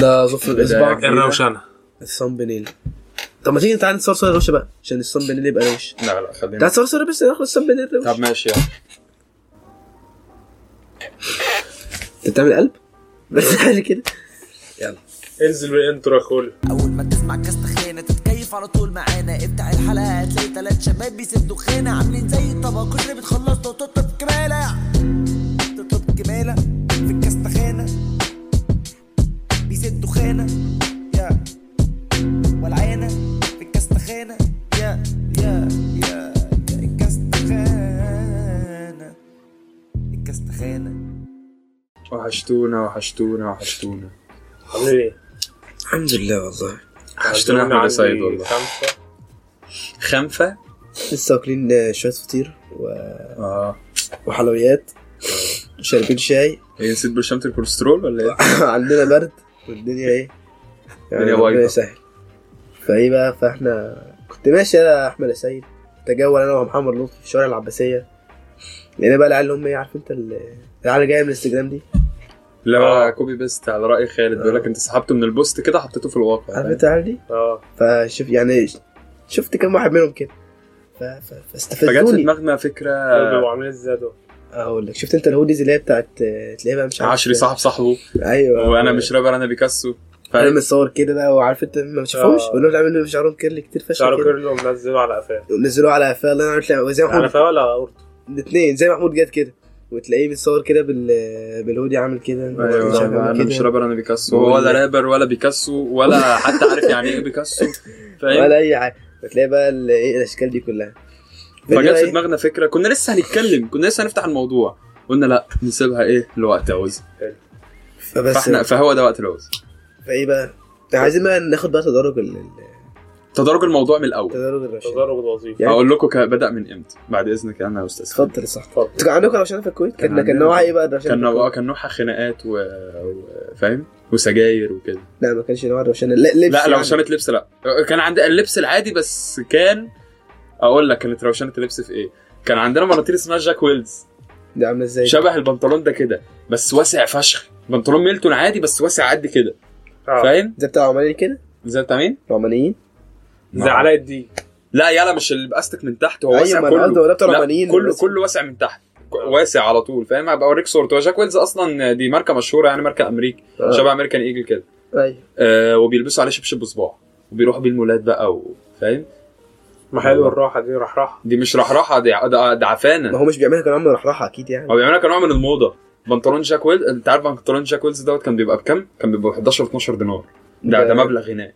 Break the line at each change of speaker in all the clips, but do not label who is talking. ده ظفر الاصبع
الروشنه
الصن بنيل طب ما تيجي تعالى نصور صوره روشه بقى عشان الصن بنيل يبقى روش
لا لا خلينا
تعالى نصور صوره بس ناخد الصن بنيل روش
يعني. طب ماشي يلا
انت بتعمل قلب؟ بس تعالى كده
انزل بالانترو اخول
اول ما تسمع كاست خيانه تتكيف على طول معانا افتح الحلقه هتلاقي تلات شباب بيسدوا خيانه عاملين زي الطبق اللي بتخلص لو تطلب كماله تطلب كماله في الكاست خيانه بيسدوا خيانه يا والعينه في الكاست خيانه يا يا يا يا الكاست خيانه الكاست خيانه
وحشتونا وحشتونا وحشتونا
عاملين ايه؟
الحمد لله والله
وحشتونا احنا
عندي
يا سيد والله
خمسه
خنفه
لسه واكلين آه، شويه فطير و-
اه
وحلويات وشاربين شاي
هي نسيت برشامه الكوليسترول ولا
آه.
ايه؟
عندنا برد والدنيا ايه يعني
الدنيا
ربنا
بايظة.
يسهل فايه بقى فاحنا كنت ماشي انا يا احمد يا سيد تجول انا ومحمد لطفي في شوارع العباسيه لقينا بقى العيال اللي هم ايه عارف انت ال- العيال اللي جايه من الانستجرام دي
لا
آه.
كوبي بيست على راي خالد
آه.
بيقول لك انت سحبته من البوست كده حطيته في الواقع
عارف انت العيال دي
اه
فشوف يعني شفت كم واحد منهم كده ف- ف-
فجت في
فاستفزوني
دماغنا فكره
بيبقوا عاملين ازاي دول؟
اقول لك شفت انت الهوديز اللي هي بتاعت آه، تلاقيها بقى مش عارف
عشري صاحب صاحبه
ايوه
وانا مش رابر انا بيكاسو
انا
فاهم
متصور كده بقى وعارف انت ما بتشوفهمش
آه.
بقول لهم اعملوا شعرهم كيرلي كتير فشخ
شعره
كده
كيرلي ومنزله على قفاه
نزلوه على قفاه الله ينور عليك. زي ما
على
محمود
قفاه ولا اورتو؟
الاثنين زي محمود جت كده وتلاقيه متصور كده بال بالهودي عامل كده
ايوه
مش عارف
انا
عامل
مش
كده
رابر انا بيكاسو ولا رابر ولا بيكاسو ولا حتى عارف يعني ايه بيكاسو فاهم
ولا اي حاجه وتلاقي بقى ال- ايه الاشكال دي كلها
فجت
فجأة
في
إيه؟
دماغنا فكره كنا لسه هنتكلم كنا لسه هنفتح الموضوع قلنا لا نسيبها ايه لوقت عوز
فبس
فاحنا فهو ده وقت العوز
فايه بقى عايزين بقى ناخد بقى تدرج ال- ال-
تدرج الموضوع من الاول
تدرج الرشاق
تدرج الوظيفي
يعني-
هقول لكم كان بدا من امتى بعد اذنك انا يا استاذ خالد.
اتفضل يا صاحبي
اتفضل
انتوا كان عندكم روشانه في الكويت كان كان
عندنا-
نوعها ايه بقى الروشانه
كان
في الكويت؟
نوع- كان نوعها خناقات و... و... فاهم وسجاير وكده
لا ما كانش نوعها الروشانه لا لبس
لا
يعني.
روشنة لبس لا كان عند اللبس العادي بس كان اقول لك كانت روشنة لبس في ايه كان عندنا مناطيل اسمها جاك ويلز
دي عامله ازاي
شبه البنطلون ده كده بس واسع فشخ بنطلون ميلتون عادي بس واسع قد كده
آه.
اه
فاهم
زي بتاع العمانيين كده
زي بتاع مين
العمانيين
زي علاء الدين
لا يلا مش اللي باستك من تحت هو
أيوة،
واسع
ما أنا قصدي
كله
ولا بتاع
لا،
العمانيين
كله
بس.
كله واسع من تحت ك- واسع على طول فاهم هبقى اوريك صورته هو جاك ويلز اصلا دي ماركه مشهوره يعني ماركه امريكي
آه.
شبه امريكان ايجل كده
ايوه
آه وبيلبسوا عليه شبشب بصباع وبيروحوا بيه المولات بقى و- فاهم
ما
آه.
حلو الراحه دي راح راح
دي مش رحرحه دي ع- ده ده عفانه
ما هو مش بيعملها كان عامله رحرحه اكيد يعني
هو بيعملها كنوع من الموضه بنطلون جاك ويلز انت عارف بنطلون جاك ويلز دوت كان بيبقى بكام؟ كان بيبقى 11 12 دينار ده ده مبلغ هناك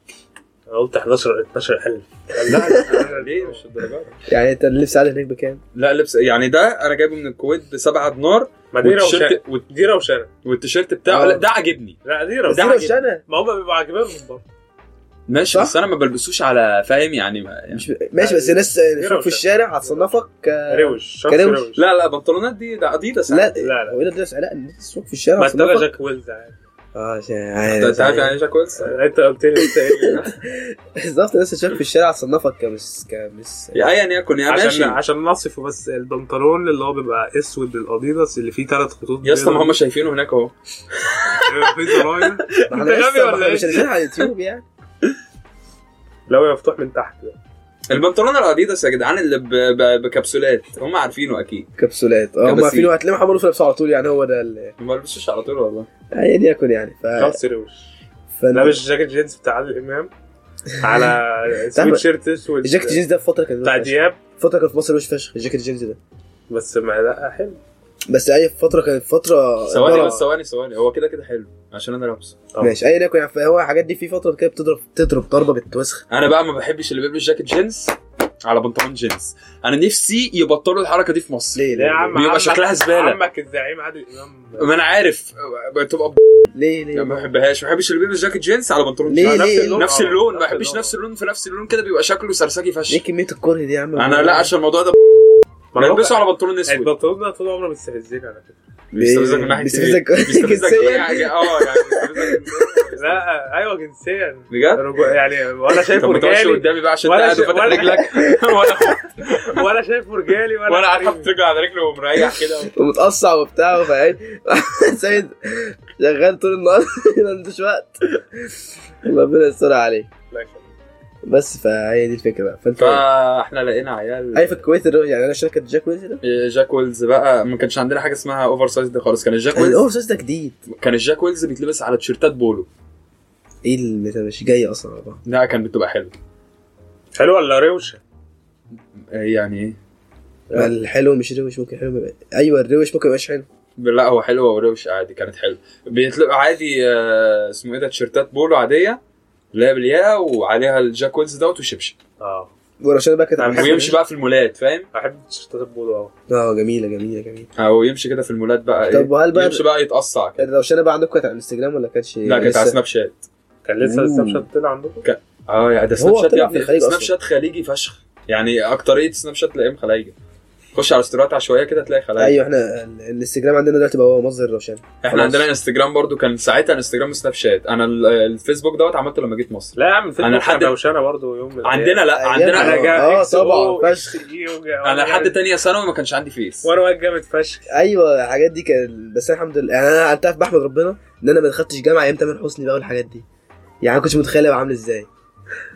انا قلت 11 12000
لا ليه مش الدرجات
يعني انت اللبس عادي هناك بكام؟
لا لبس يعني ده انا جايبه من الكويت ب 7 دينار
ما دي روشنه
والتيشيرت وال-
دي روشنه
والتيشيرت بتاعه
آه.
لا ده عجبني
لا دي
بس دي
روشنه
روشانه
ما هم بيبقوا عاجبينهم برضه
ماشي
صح؟
بس انا ما بلبسوش على فاهم يعني, ما يعني
مش ماشي بس الناس شوف في
روشة.
الشارع هتصنفك ك-
روش شخص
آه. كروش.
روش
لا لا بنطلونات دي ده اديداس
لا
عادي.
لا لا
هو ايه ده درس علاء الناس تسوق في الشارع
ما انت لا
هتصنفك
جاك ويلز عادي
اه عشان
انت عارف
عارف
يعني ايه جاك ويلز؟
انت قلت لي انت ايه
بالظبط الناس تشوفك في الشارع هتصنفك كمس كمس
ايا يكن يعني ماشي
عشان عشان نصف بس البنطلون اللي هو بيبقى اسود الاديداس اللي فيه ثلاث خطوط
يا اسطى ما
بيضاء.
هم شايفينه هناك اهو
في زراير
ما احنا
أنت غبي
لسه- ما
ولا
احنا
إيه؟
مش نازلين على اليوتيوب يعني
لو هي مفتوح من تحت
آه.
ده.
البنطلون الاديداس يا جدعان اللي ب- ب- بكبسولات هم عارفينه اكيد
كبسولات اه هم
كبسي.
عارفين هتلاقيهم حملوا في لبسه على طول يعني هو ده ال-
ما بلبسوش على طول والله
ايا يكن يعني ف
شخص روش
فانا
لابس جاكيت جينز بتاع عادل امام على سويت شيرت اسود
الجاكيت جينز ده في فتره كان
بتاع
وحش فشخ.
دياب
فتره كان في مصر وش فشخ الجاكيت جينز ده
بس ما لا حلو
بس اي فتره كانت فتره
ثواني
ضرب.
بس ثواني ثواني هو كده كده حلو عشان انا لابسه
آه.
ماشي ايا يكن يعني فهو الحاجات دي في فتره كده بتضرب تضرب ضربه بتوسخ
انا بقى ما بحبش اللي بيلبس جاكيت جينز على بنطلون جينز انا نفسي يبطلوا الحركه دي في مصر
ليه
لا
ليه
يا عم
بيبقى
عمك-
شكلها زبالة.
عمك الزعيم عادل امام
ما انا عارف بتبقى ب...
ليه ليه
ما بحبهاش ما بحبش اللي بيلبس جاكيت جينز على بنطلون
ليه
جينز
ليه
نفس
ليه؟
اللون.
نفس
آه،
اللون ما
نفس
بحبش
اللون.
نفس اللون في نفس اللون كده بيبقى شكله سرسجي
ليه
فشخ
كميه الكره دي يا عم
انا لا عشان الموضوع ده
ما هو
بلبسه على بنطلون اسود
البنطلون ده طول عمره بيستفزني على فكره
بيستفزك من إيه؟ آه، ناحيه ايه؟
بيستفزك
بيستفزك
جنسيا
يعني- اه يعني بيستفزك-
لا ايوه جنسيا
بجد؟
رجوع- يعني ولا
إيه؟ طب
شايفه
ما تقعدش
رجالي
قدامي بقى عشان
ولا
انت قاعد
شيء-
وفاتح
ولا-
رجلك
ولا ولا شايفه رجالي ولا طيب.
وانا قاعد
كريمي.
حاطط رجله على رجله ومريح كده
ومتقصع وبتاع فاهم سيد شغال طول النهار ما عندوش وقت ربنا يستر عليك
لا شايفه.
بس فهي دي الفكره بقى فانت
فاحنا لقينا عيال إيه،
هي في الكويت الر- يعني انا شركه جاك ويلز ده
جاك ويلز بقى ما كانش عندنا حاجه اسمها اوفر سايز ده خالص كان الجاك ويلز
الاوفر سايز ده جديد
كان الجاك ويلز بيتلبس على تيشيرتات بولو
ايه اللي مش جاي اصلا على بعض
لا كانت بتبقى حلوه
حلوه ولا روشه؟
يعني ايه
ما الحلو مش روش ممكن حلو يبقى ايوه الروش ممكن يبقاش حلو
لا هو حلوه وروش عادي كانت حلوه بيتلقى عادي آه، اسمه ايه ده تيشيرتات بولو عاديه اللي هي بالياقه وعليها الجاك ويلز دوت وشبشب
اه
ورشانا بقى كانت
أنا بحب
نعم، ويمشي بقى في المولات فاهم
بحب تيشيرتات البولو قوي
اه جميله جميله جميله
او يمشي كده في المولات بقى
طب
ايه
وهل بقى
يمشي بقى يتقصع كده
الروشانه بقى عندكم كانت على الانستجرام ولا كانتش
لا كانت
لسه؟
على سناب شات
كان لسه
أوه.
السناب شات طلع عندكم؟
اه يا ده سناب
هو
شات
طلع
يا
في
ابني
الخليج
سناب
أصلاً.
شات خليجي فشخ يعني اكتريه سناب شات تلاقيهم خلايجه خش على ستوريات عشوائيه كده تلاقي خلايجه
ايوه احنا ال- الانستجرام عندنا دلوقتي بقى هو مصدر الروشان
احنا
خلاص.
عندنا انستجرام برضو كان ساعتها انستجرام وسناب شات انا ال- الفيسبوك دوت عملته لما جيت مصر
لا يا عم في
أنا
انا
لحد-
لحد روشانه برضه يوم من
عندنا لا
أيام
عندنا
ما-
انا
انا,
جا
آه،
إكس أو
طبعاً،
إكس إي وجا-
أنا لحد تانية ثانوي ما كانش عندي فيس
وانا واقف جامد فشخ
ايوه الحاجات دي كان بس الحمد لله يعني انا عرفتها في بحمد ربنا ان انا ما دخلتش جامعه ايام تامر حسني بقى والحاجات دي يعني انا كنتش متخيل هبقى عامل ازاي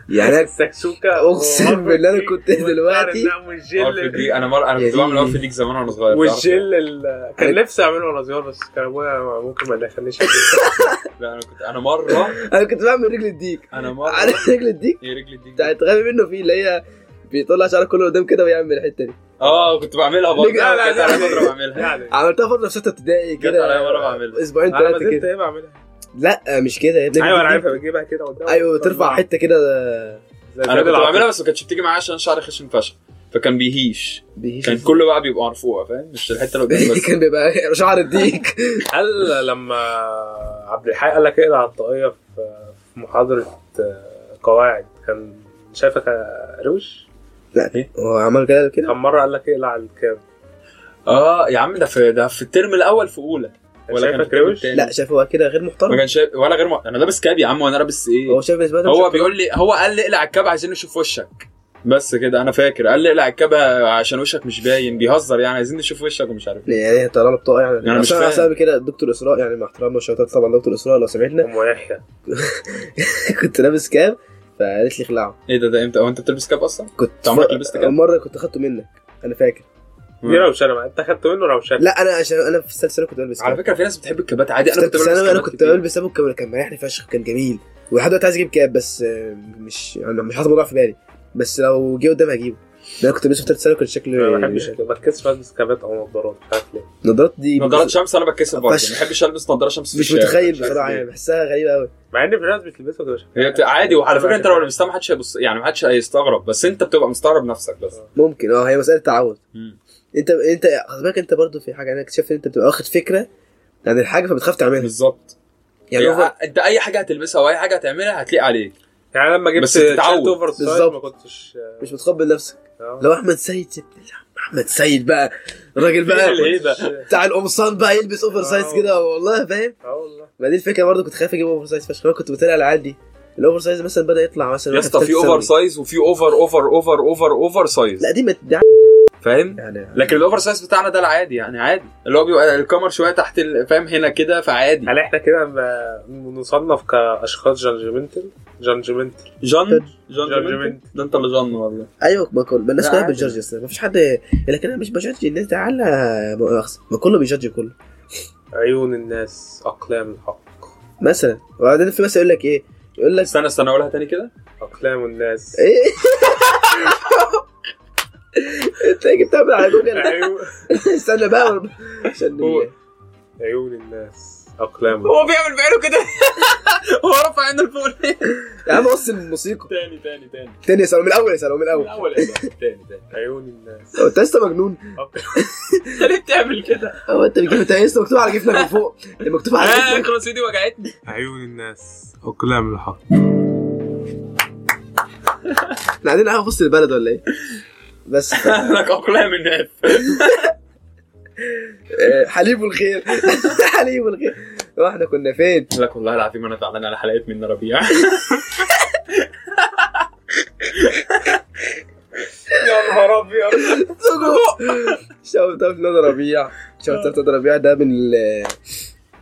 يعني أنا-
السكسوكه
أقسم بالله أنا كنت دلوقتي-
عارف
والجل
دي انا مر... انا
يا
كنت بعمل
ديني.
عارف ديك زمان وانا صغير تعرف؟
والجل ال- كان نفسي اعمله وانا صغير بس كان ابويا ممكن ما دخلنيش
يعني؟ لا انا كنت انا مره
انا كنت بعمل رجل الديك
انا مره
عارف رجل الديك
ايه رجلي دي
بتاعت غبي منه فيه اللي هي بيطلع شعره كله قدام كده ويعمل الحته دي
اه كنت بعملها برضه
رجلي- لا، لا،
كانت
لا.
على فتره بعملها
يعني
عملتها فتره في سته ابتدائي
جت عليا مرة بعملها.
كده اسبوعين
انا ما
ثلاثه
زلت
كده
ايه بعملها
لا مش كده يا ابني
أيوة،
ايوه انا
الديك-
عارفها بتجيبها كده قدام
ايوه ترفع حته كده
زي
انا
زي
كنت
العقل.
بعملها بس ما كانتش بتيجي معايا عشان شعري خشن فشخ فكان بيهيش
بيهيش
كان كله بقى بيبقوا عرفوها فاهم مش الحته اللي قدام بس
كان بيبقى شعر الديك
هل لما عبد الحي قال لك اقلع الطاقيه في في محاضره آه، قواعد كان شايفك آه، روش
إيه؟
هو عمل كده
كان
كده
مره قال لك اقلع الكاب
اه يا عم ده في ده في الترم الاول في اولى ولا كان
شايفك
في الترم
روش
التاني
لا شايف هو كده غير
ما
محترم
كانش شايف- ولا غير م... انا لابس كاب يا عم وانا لابس ايه
هو شايف بالنسبه له
هو
شايف-
بيقول لي هو قال لي اقلع الكاب عايزين نشوف وشك بس كده انا فاكر قال لي اقلع الكاب عشان وشك مش باين بيهزر يعني عايزين نشوف وشك ومش عارف ايه
يعني طالما بطاقه يعني
أنا مش
أصل
فاهم.
أصل أنا كده الدكتور اسراء يعني مع احترامنا والشوطات طبعا دكتور اسراء لو سمعتنا
ام يحيى
كنت لابس كاب فقالت لي اخلعه
ايه ده ده امتى هو انت بتلبس كاب اصلا؟
كنت
أنت عمرك لبست كاب؟
مره كنت اخدته منك انا فاكر
دي روشانه بقى. انت خدت منه
إيه.
روشانه
لا انا عشان انا في الثالثه ثانوي كنت بلبس
على
كاب
فكره في ناس بتحب الكابات عادي انا
انا
كنت بلبس
ثانوي انا
كابات
كنت
كتير.
بلبس ابو كاب كان مريحني فشخ كان جميل ولحد دلوقتي عايز اجيب كاب بس آه، مش انا مش حاطط الموضوع في بالي بس لو جه قدامي هجيبه ده انا كنت لابسه في ثالثه ثانوي كان شكلي
انا ما بحبش ما بتكسفش البس كابات او نظارات مش عارف ليه
نظارات دي
نضارات
بس-
شمس انا بتكسف برضه
فشخ.
ما بحبش البس نضاره شمس في
مش
الشارع.
متخيل
مش عارف
بصراحه
ليه.
يعني بحسها غريبه قوي
مع ان في ناس بتلبسها وتبقى شكلها
هي بت- عادي وعلى فكره انت لو لبستها ما حدش هيبص يعني ما حدش هيستغرب بس انت بتبقى مستغرب نفسك بس
ممكن اه هي مساله تعود
مم.
انت انت خد بالك انت برضو في حاجه انا اكتشفت ان انت بتبقى واخد فكره عن الحاجه فبتخاف تعملها
بالظبط
يعني
يعني
هو-
انت اي حاجه هتلبسها او اي حاجه هتعملها هتليق عليك
يعني لما جبت
بس تتعود.
شيرت اوفر سايز
بالظبط.
ما كنتش آه،
مش متقبل نفسك
آه.
لو احمد سيد سيبني لا، احمد سيد بقى الراجل
ايه
بقى
اللي-
إيه
ايه ده؟
بتاع القمصان بقى يلبس اوفر
آه،
سايز كده والله فاهم
اه والله
ما دي الفكره برضو كنت خايف اجيب اوفر سايز فشخ انا كنت بتريق على العيال دي الاوفر سايز مثلا بدا يطلع مثلا
يا
واحد
اسطى في
تالتة
اوفر
ثانوي.
سايز وفي اوفر اوفر اوفر اوفر اوفر سايز
لا دي ما دي
فاهم
يعني
لكن الاوفر سايز بتاعنا ده العادي يعني عادي اللي هو بيبقى الكمر شويه تحت ال- فاهم هنا كده فعادي
هل احنا كده ب- نصنف كاشخاص جانجمنتل جانجمنتل
جن جن
جن
جمنت.
جمنت.
ده انت اللي جن والله
ايوه ما كل ما الناس
لا
كلها
عادي.
بتجادج اصلا ما فيش حد لكن انا مش بجادج الناس ده على مؤاخذه ما كله بيجادج كله
عيون الناس اقلام الحق
مثلا وبعدين في مثلا يقول لك ايه يقول لك
استنى استنى اقولها تاني كده
اقلام الناس
ايه انت إيه جبتها من على جوجل
عيون
استنى بقى عشان إيه؟
قول.
عيون الناس اقلام
هو بيعمل بعينه كده هو رفع عينه لفوق ليه؟
يا عم وصل الموسيقى
تاني تاني تاني
تاني يا سلام من الاول يا سلام من الاول
الاول يا جماعة. تاني تاني
عيون الناس
هو انت لسه مجنون
أق-
انت ليه بتعمل كده؟
هو انت بتجيب انت لسه مكتوب على جفنك من فوق اللي مكتوب على
آه،
جفنك
خلاص ايدي وجعتني
عيون الناس اقلام الحق
احنا قاعدين قهوه في وسط البلد ولا ايه بس
لك اقلام الناس
آه، إيه، حليب الخير حليب الخير واحنا كنا فين
قلت لك والله العظيم انا زعلان على حلقه من ربيع يا نهار ابيض
شوت اوت نادي ربيع شوت اوت نادي ربيع ده من ال-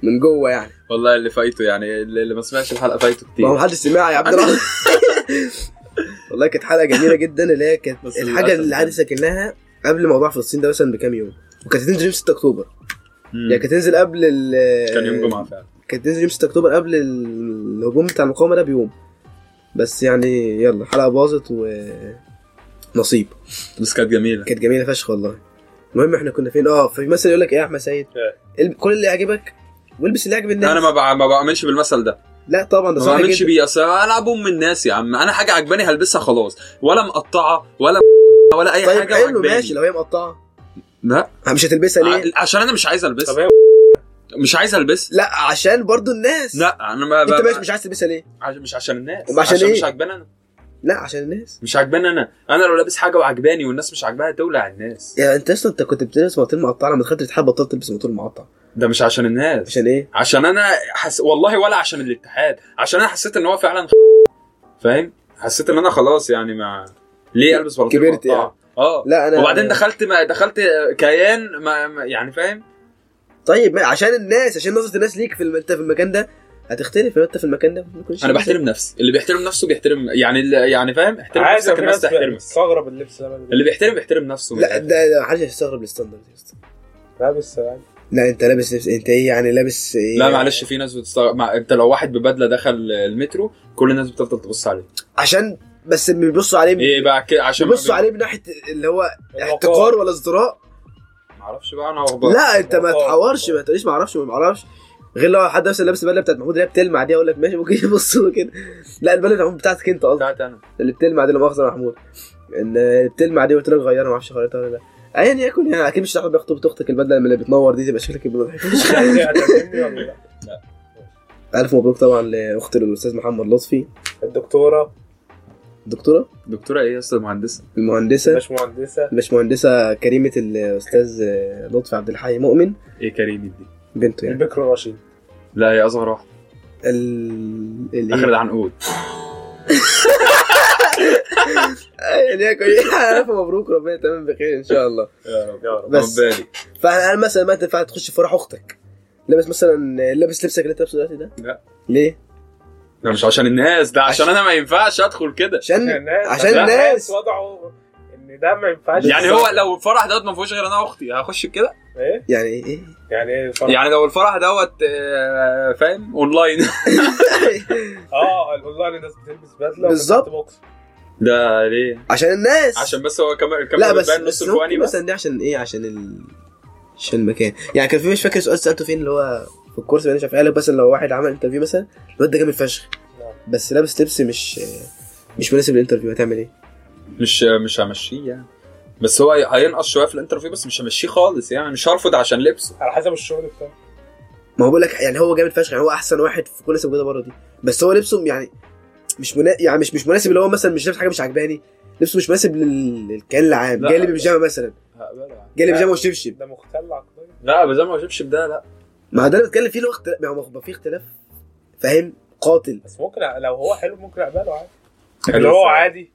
من جوه يعني
والله اللي فايته يعني اللي اللي ما سمعش الحلقه فايته كتير
ما هو محدش سمعها يا عبد الرحمن والله كانت حلقه جميله جدا اللي هي كانت
بس
الحاجه
للأسف
اللي عادي ساكناها قبل موضوع فلسطين ده مثلا بكام يوم وكانت هتنزل يوم 6 اكتوبر
مم.
يعني كانت هتنزل قبل ال-
كان يوم جمعه فعلا
كانت تنزل يوم 6 اكتوبر قبل ال- الهجوم بتاع المقاومه ده بيوم بس يعني يلا الحلقه باظت و نصيب
بس كانت جميله
كانت جميله فشخ والله المهم احنا كنا فين اه في مثل يقول لك ايه يا احمد سيد
إيه.
الب- كل اللي يعجبك والبس اللي يعجب الناس
انا ما بع- ما بعملش بالمثل ده
لا طبعا ده
ما
صح
بعملش
جدا
بيه اصل العب ام الناس يا عم انا حاجه عجباني هلبسها خلاص ولا مقطعه ولا ولا اي
طيب
حاجه
حلو
وعجباني.
ماشي لو هي مقطعه
لا
مش هتلبسها ليه؟
ع- عشان انا مش عايز
طب إيه
البسها
هي
مش عايز البسها
لا عشان برضو الناس
لا انا ما
انت
ما-
ماشي مش عايز تلبسها ليه؟
عش- مش عشان الناس
طب عشان
عشان
إيه؟
مش عجباني انا
لا عشان الناس
مش عجباني انا انا لو لابس حاجه وعجباني والناس مش عاجباها تولع الناس
يعني انت اصلا انت كنت بتلبس بناطيل مقطعه لما دخلت الاتحاد بطلت تلبس بناطيل مقطع
ده مش عشان الناس
عشان ايه؟
عشان انا حس... والله ولا عشان الاتحاد عشان انا حسيت ان هو فعلا فاهم حسيت ان انا خلاص يعني مع ليه البس بناطيل
كبرت يعني.
مقطعة؟ اه
لا انا
وبعدين دخلت ما دخلت كيان ما ما- يعني فاهم
طيب ما عشان الناس عشان نظره الناس ليك في الم- انت في المكان ده هتختلف لو انت في المكان ده ما تكونش
انا
لابس-
بحترم نفسي اللي بيحترم نفسه بيحترم يعني اللي يعني فاهم احترم
عادي
نفسك
في
الناس
ناس
تحترمك
بتستغرب اللبس ده
اللي بيحترم بيحترم نفسه
لا ده ده محدش هيستغرب الستاندرد يا اسطى.
لابس عادي
لا انت لابس لبس انت ايه يعني لابس ايه
لا معلش في ناس بتستغرب مع... انت لو واحد ببدله دخل المترو كل الناس بتفضل تبص عليه
عشان بس بيبصوا عليه
ايه بقى كده عشان
بيبصوا عليه من ناحيه اللي هو
الوقار.
احتقار ولا ازدراء
معرفش بقى انا هخبط
لا انت ما
الوقار.
تحورش ما تقوليش ما اعرفش ما اعرفش غير لو حد مثلا لابس البدله بتاعت محمود اللي هي بتلمع دي اقول لك ماشي ممكن يبص له كده لا البدله بتاعت محمود بتاعتك انت قصدي
بتاعتي انا
اللي بتلمع دي لا مؤاخذه يا محمود ان اللي بتلمع دي قلت لك غيرها ما اعرفش غيرتها ولا لا ايا يكن يعني اكيد مش هتاخد بيها خطوبه اختك البدله اللي بتنور دي تبقى شكلك البدله
هتعلمني ولا لا
الف مبروك طبعا لاختي الاستاذ محمد لطفي
الدكتوره
الدكتوره
دكتوره ايه يا استاذ مهندسه
المهندسه
باشمهندسه
الباشمهندسه كريمه الاستاذ لطفي عبد الحي مؤمن
ايه كريم دي
بنته يعني
البكر الرشيد
لا هي اصغر واحده
ال ال-
اخر العنقود
ايه اللي هي كويس. الف مبروك ربنا تمام بخير ان شاء الله
يا رب
يا رب
بس.
بالي
فانا مثلا ما تنفع تخش فرح اختك لابس مثلا لابس لبسك اللي انت لابسه دلوقتي ده
لا.
ليه
ده مش عشان الناس ده عشان انا ما ينفعش ادخل كده
عشان
الناس
عشان
لا،
الناس.
وضعوا ان ده ما ينفعش
يعني هو لو الفرح دوت ما فيهوش غير انا واختي هخش بكده
ايه
يعني ايه
يعني ايه الفرق؟
يعني لو الفرح دوت آه، فاهم اونلاين يعني-
اه الاونلاين الناس بتلبس بدله
بالظبط.
وبتحط بوكس
ده ليه
عشان الناس
عشان بس هو كاميرا الكاميرا
لا بس
بتبان نص
بس
الفواني
ممكن
بس
مثلا دي عشان ايه عشان ال... عشان المكان يعني كان في مش فاكر سؤال سالته فين اللي هو في الكورس اللي انا شايف قالك مثلا لو واحد عمل انترفيو مثلا الواد ده جامد فشخ بس لابس لبس مش مش مناسب للانترفيو هتعمل ايه؟
مش مش همشيه يعني بس هو هينقص شويه في الانترفيو بس مش همشيه خالص يعني مش هرفض عشان لبسه
على حسب الشغل بتاعه
ما هو بقول لك يعني هو جامد فشخ يعني هو احسن واحد في كل الناس الموجوده بره دي بس هو لبسه يعني مش منا... يعني مش مش مناسب اللي هو مثلا مش لابس حاجه مش عجباني لبسه مش مناسب لل- للكيان العام
لا.
جاي لي بيجامه مثلا جاي لي بيجامه وشبشب
ده مختل عقليا
لا بس أنا ما بجيبش بده لا
ما هو ده اللي بتكلم فيه اللي هو اختلاف ما هو في اختلاف فاهم قاتل
بس ممكن أ- لو هو حلو ممكن اقبله عادي
حلو
اللي هو
إزاي؟
عادي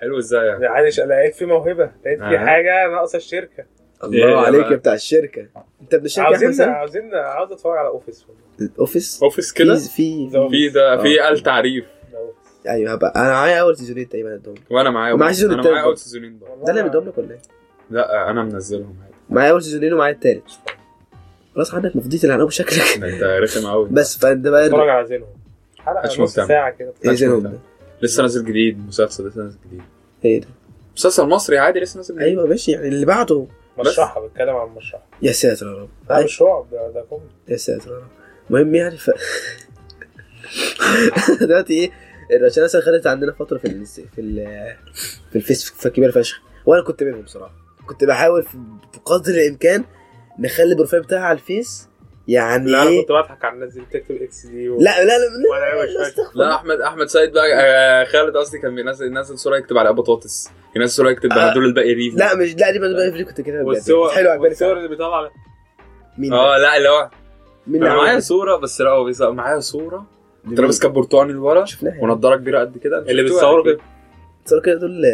حلو ازاي يعني
عادي ش- لقيت فيه موهبه لقيت فيه
آه.
حاجه ناقصه الشركه
الله
إيه يا
عليك
بقى؟
يا بتاع الشركه انت ابن الشركه يا احمد
عاوزين
سامي؟
عاوزين عاوز اتفرج على اوفيس والله.
الاوفيس
اوفيس كده
في في
زود.
في ده في
آه.
قال تعريف
ده أوفيس.
ايوه هبقى انا معايا اول سيزونين تقريبا عندهم
وانا معايا
ومعاه
أول-
سيزون
انا
التالت
معايا
برضه.
اول سيزونين بقى.
ده اللي مديهم لك ولا ايه؟
لا انا منزلهم عادي
معايا اول سيزونين ومعايا التالت خلاص عندك مفضيت العنقود شكلك
ده انت رخم قوي
بس فانت بقى
اتفرج على زينهم حلقه
مش
نص
مهتم.
ساعه كده
ايه
ماشي
زينهم
مهتم.
ده؟
لسه نازل جديد مسلسل لسه نازل جديد
ايه ده؟
مسلسل مصري عادي لسه نازل جديد
ايوه ماشي يعني اللي بعده
مشرحه بتكلم عن مشرحه
يا ساتر يا رب أيوة،
ده مش رعب ده ده كوميدي
يا ساتر يا رب المهم يعني ف دلوقتي ايه الرشاوي مثلا خدت عندنا فتره في ال في ال في الفيس فكبيره فشخ وانا كنت منهم بصراحه كنت بحاول في- بقدر الامكان نخلي البروفايل بتاعها على الفيس يعني
لا انا
إيه؟
كنت بضحك على الناس دي بتكتب اكس دي و...
لا لا لا لا,
ولا أيوة، مش
لا
فاكر.
استغفر
لا
الله.
احمد احمد سيد بقى آه خالد قصدي كان بينزل نازل صوره يكتب عليها بطاطس ينزل صوره يكتب
آه.
بهدول الباقي ريف
لا مش لا دي بقى- دي بقى كنت كده بجد
والصور آه،
حلو عجباني
والصور
فعلاً.
اللي بيطلع
مين ده؟
اه آه، لا اللي هو
مين
انا
اللي
معايا
عمل
صوره بس لا هو بيصور معايا صوره
ده؟
انت لابس كاب برتقاني لورا
شفناها يعني.
ونضاره كبيره قد كده
اللي
شفتوها
بتصوروا
أكيد.
كده
صار كده دول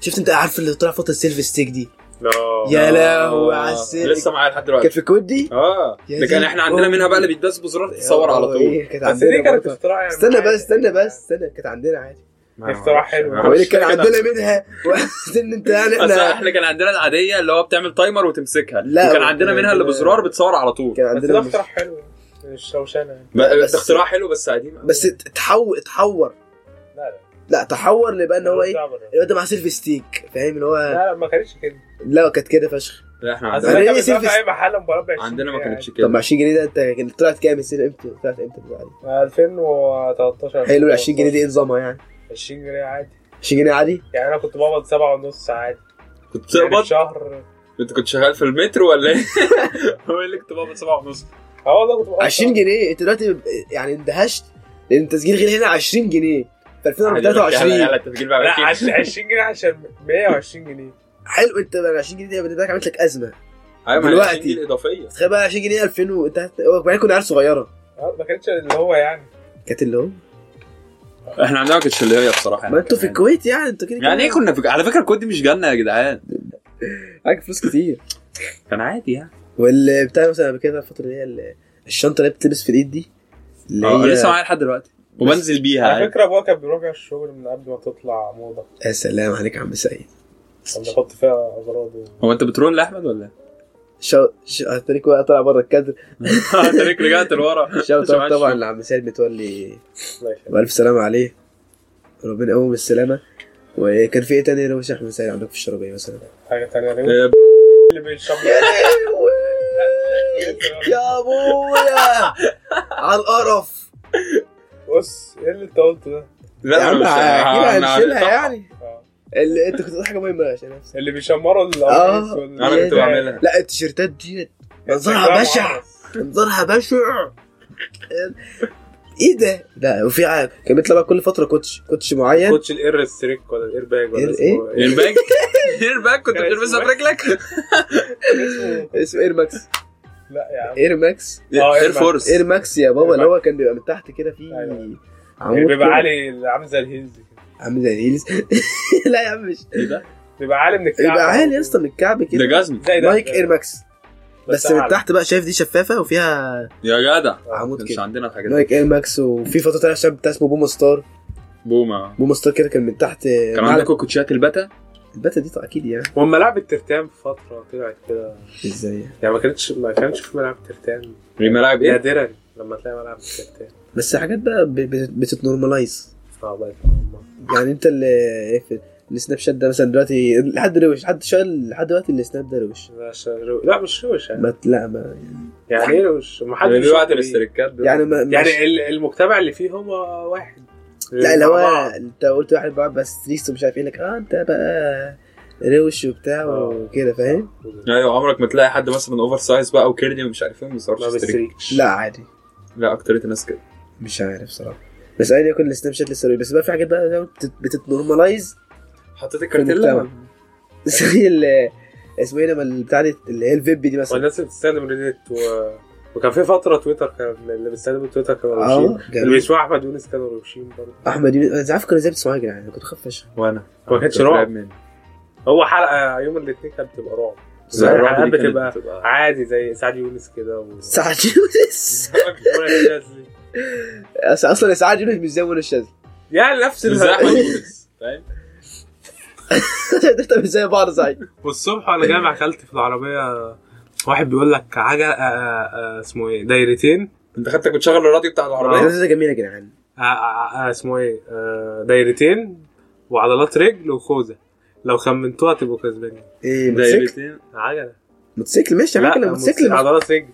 شفت انت عارف اللي طلع فوت السيلفي ستيك دي
آه.
يا
آه.
لهوي على السيلفي
لسه معايا لحد
كانت
دلوقتي
في الكود دي
اه
يا
ده كان
دي
احنا عندنا منها بقى اللي بيتداس بزرار تتصور على طول
إيه، كانت
بس دي
عندنا
كانت
برضه.
اختراع يعني
استنى
معايا.
بس استنى بس استنى كانت عندنا عادي
اختراع حلو.
ما
هو
أعرفش.
إيه اللي كان
كده.
عندنا منها وإن انت يعني
بس
احنا
احنا كان عندنا العاديه اللي هو بتعمل تايمر وتمسكها
لا،
وكان
هو
عندنا
كان
منها اللي
عندنا-
بزرار بتصور على طول
كان
بس
عندنا
ده اختراع حلو مش روشانه يعني
ب-
بس-
بس اختراع حلو بس قديم أوي.
بس تحور اتحور
لا لا
لا تحور لبقى ان هو ايه
لا، لا،
الواد ده مع سيلفي ستيك فاهم اللي هو
لا ما كانتش كده
لا كانت كده فشخ
لا احنا
أصل
ده
عندنا
أنت
ليه
بتروح
سيلفي
في اي محل موبايل ب 20
عندنا ما
يعني.
كانتش
طب
كده
20 جنيه ده انت كانت طلعت كام السيلفي امتى طلعت امتى بقى؟
2013
حلو ال 20 جنيه دي ايه نظامها يعني
20 جنيه عادي
20 جنيه عادي
يعني انا كنت بقبض سبعة ونص عادي
كنت
يعني
بتقبض
شهر
انت كنت شغال في المترو ولا ايه؟ هو اللي كنت بقبض سبعة ونص
اه والله كنت بقبض
20 جنيه انت دلوقتي يعني اندهشت لان التسجيل غير هنا 20 جنيه في 2023
لا التسجيل بقى
لا
20.
20 جنيه عشان 120 جنيه
حلو انت بقى 20 جنيه دي بالنسبه لك عملت لك ازمه
ايوه ما هي
دلوقتي.
20 دي الاضافيه
تخيل بقى 20 جنيه 2000 وانت هت- وبعدين كنا عيال صغيره
آه، ما كانتش اللي هو يعني
كانت اللي هو
احنا عندنا ما كانتش اللي هي بصراحه
ما انتوا في
يعني-
الكويت يعني انتوا كده
يعني ايه كنا في... على فكره الكود دي مش جنه يا جدعان
معاك فلوس كتير
كان عادي يعني
والبتاع مثلا قبل كده الفتره اللي هي ال- الشنطه اللي هي بتلبس في الايد دي اللي
آه،
هي
لسه معايا لحد دلوقتي وبنزل
يعني
بيها
على
عادي.
فكره ابويا كان بيروح بيها الشغل من قبل ما تطلع موضه
يا سلام عليك يا عم سعيد
كان بيحط فيها اغراض و...
هو انت بترول لاحمد ولا إيه؟
شو شو هتريك بقى طالع بره الكادر
انت ليك رجعت لورا
شوت
شو-
اوت طبعا
شو-
لعم سعيد متولي
الله يخليك.
والف سلامه عليه ربنا يقوم بالسلامه وكان في ايه تاني لو احمد سعيد عندك في الشربيه مثلا
حاجه ثانيه
إيه.
اللي
آه،
بيشرب
يا ابويا على القرف
بص ايه اللي انت قلته ده؟
يا
لا
عم
مش-
كده
أنا-
هنشيلها
صح.
يعني
آه.
ال- انت كنت بتقول حاجه مهمه عشان أنا نسيت.
اللي بيشمروا
آه.
القميص وال-
انا كنت
يا
بعملها
لا التيشيرتات دي منظرها
إنستجرام
بشع
عرس.
منظرها بشع ايه ده؟ لا وفي ع- كان بيطلع بقى كل فتره كوتش كوتش معين
كوتش الاير ستريك ولا الاير باج
إير
ولا اسمه
إيه؟
إيه؟
ايرباج ايرباج كنت بتلبسها في رجلك
اسمه-
اسمه اير ماكس
لا يا عم
اير ماكس
آه،
اير
إيرباج.
فورس
اير ماكس يا بابا
Air
اللي هو كان بيبقى من تحت كده في
أيوة.
عمود
بيبقى
كده.
عالي اللي عامل زي الهيلز كده
عامل زي الهيلز لا يا عم مش
ايه ده؟
بيبقى عالي من الكعب
يبقى عالي يا اسطى من الكعب
ده
كده
جزمه
زي ده
نايك اير ماكس بس من
أعلى.
تحت بقى شايف دي شفافه وفيها
يا جدع
عمود
مش
كده
عندنا الحاجات دي
نايك اير ماكس وفي فتره طلع شاب بتاع اسمه بوم ستار
بوما
بوم ستار كده كان من تحت
كان
معلم.
عندكم كوتشيات البتا
البتا دي طبعا اكيد يعني
وأما لعبة ترتان في فترة طلعت كده
ازاي
يعني ما كانتش ما كانش في ملعب ترتان
ملاعب ايه؟
نادرا لما تلاقي ملعب ترتان
بس حاجات بقى ب- بت- بتتنورماليز
اه الله يرحمه والله.
يعني انت اللي في السناب شات ده مثلا دلوقتي لحد روش لحد شغال لحد دلوقتي السناب ده روش
لا عشان رو- لا مش روش يعني
ما ت- لا ما
يعني ايه روش؟ ما حدش
اللي
بيشوف
بيبعت
بيه.
الاستريكات دول
يعني ما مش-
يعني ال- المجتمع اللي فيه هو واحد
لا اللي هو
مع بعض.
انت قلت واحد بقى بس تريس ومش عارف ايه لك اه انت بقى روش وبتاع
آه.
وكده فاهم
ايوه عمرك ما تلاقي حد مثلا اوفر سايز بقى وكيرلي ومش عارف ايه ما بيصرفش
ما
استريك
بيستريكش
لا عادي
لا اكتريه الناس كده
مش عارف صراحه بس انا يكون السناب شات لسه روش. بس بقى في حاجات بقى زي ما بتت- بتتنورماليز
حطيت
الكارتيلا؟ زي ال- اسمه ايه لما البتاع دي اللي هي الفيب دي مثلا
والناس اللي بتستخدم ريديت و... وكان في فتره تويتر كان اللي بيستخدم تويتر كانوا
اه
روشين اللي
جميل.
بيسمعوا احمد يونس كانوا روشين برضه
احمد يونس انا مش عارف كانوا ازاي بتسمعوها يا جدعان انا كنت خايف فشخ
وانا
ما كانتش
كنت
آه. رعب.
قريب مني.
هو حلقه يوم الاثنين كانت بتبقى رعب
بس لا،
الرعب دي
الحلقات
كانت
بتبقى عادي زي سعد يونس كده و...
سعد يونس أص- اصلا سعد يونس مش زي منى الشاذلي
يعني نفس
زي
الهدف.
أحمد يونس، فاهم
ده مش زي بعض سعيد
والصبح وانا جاي مع خالتي في العربيه واحد بيقول لك عجل اسمه ايه دايرتين
انت خدتك بتشغل الراديو بتاع العربيه
ده جميل يا جدعان
آه، آه، آه، اسمه ايه آه، دايرتين وعضلات رجل وخوذه لو خمنتوها تبقوا كسبانين
ايه موتوسيكل
دايرتين
عجله
موتوسيكل ماشي على فكره موتوسيكل
آه، عضلات رجل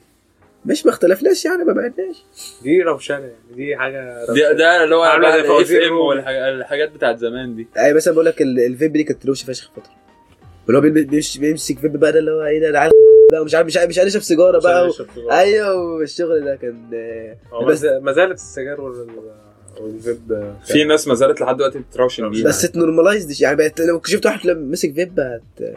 مش ما اختلفناش يعني ما بعدناش
دي روشانه يعني دي حاجه
ده ده اللي هو
عاملة زي
اف
فوازير
ام
روم.
والحاجات بتاعت زمان دي
يعني مثلا بقول لك ال- الفيب دي كانت روشه فشخ فتره اللي هو بيلبس- بيمش- بيمسك فيب بقى ده اللي هو ايه ده العيال ده مش عارف مش عارف مش عارف يشرب سيجاره بقى و...
بقى
ايوه والشغل ده كان آه، بس-
ما زالت السجاير وال- والفيب
في ناس ما زالت لحد دلوقتي بتراوشن بيها
بس تنورماليزد يعني بقت لو شفت واحد لما مسك فيب هت...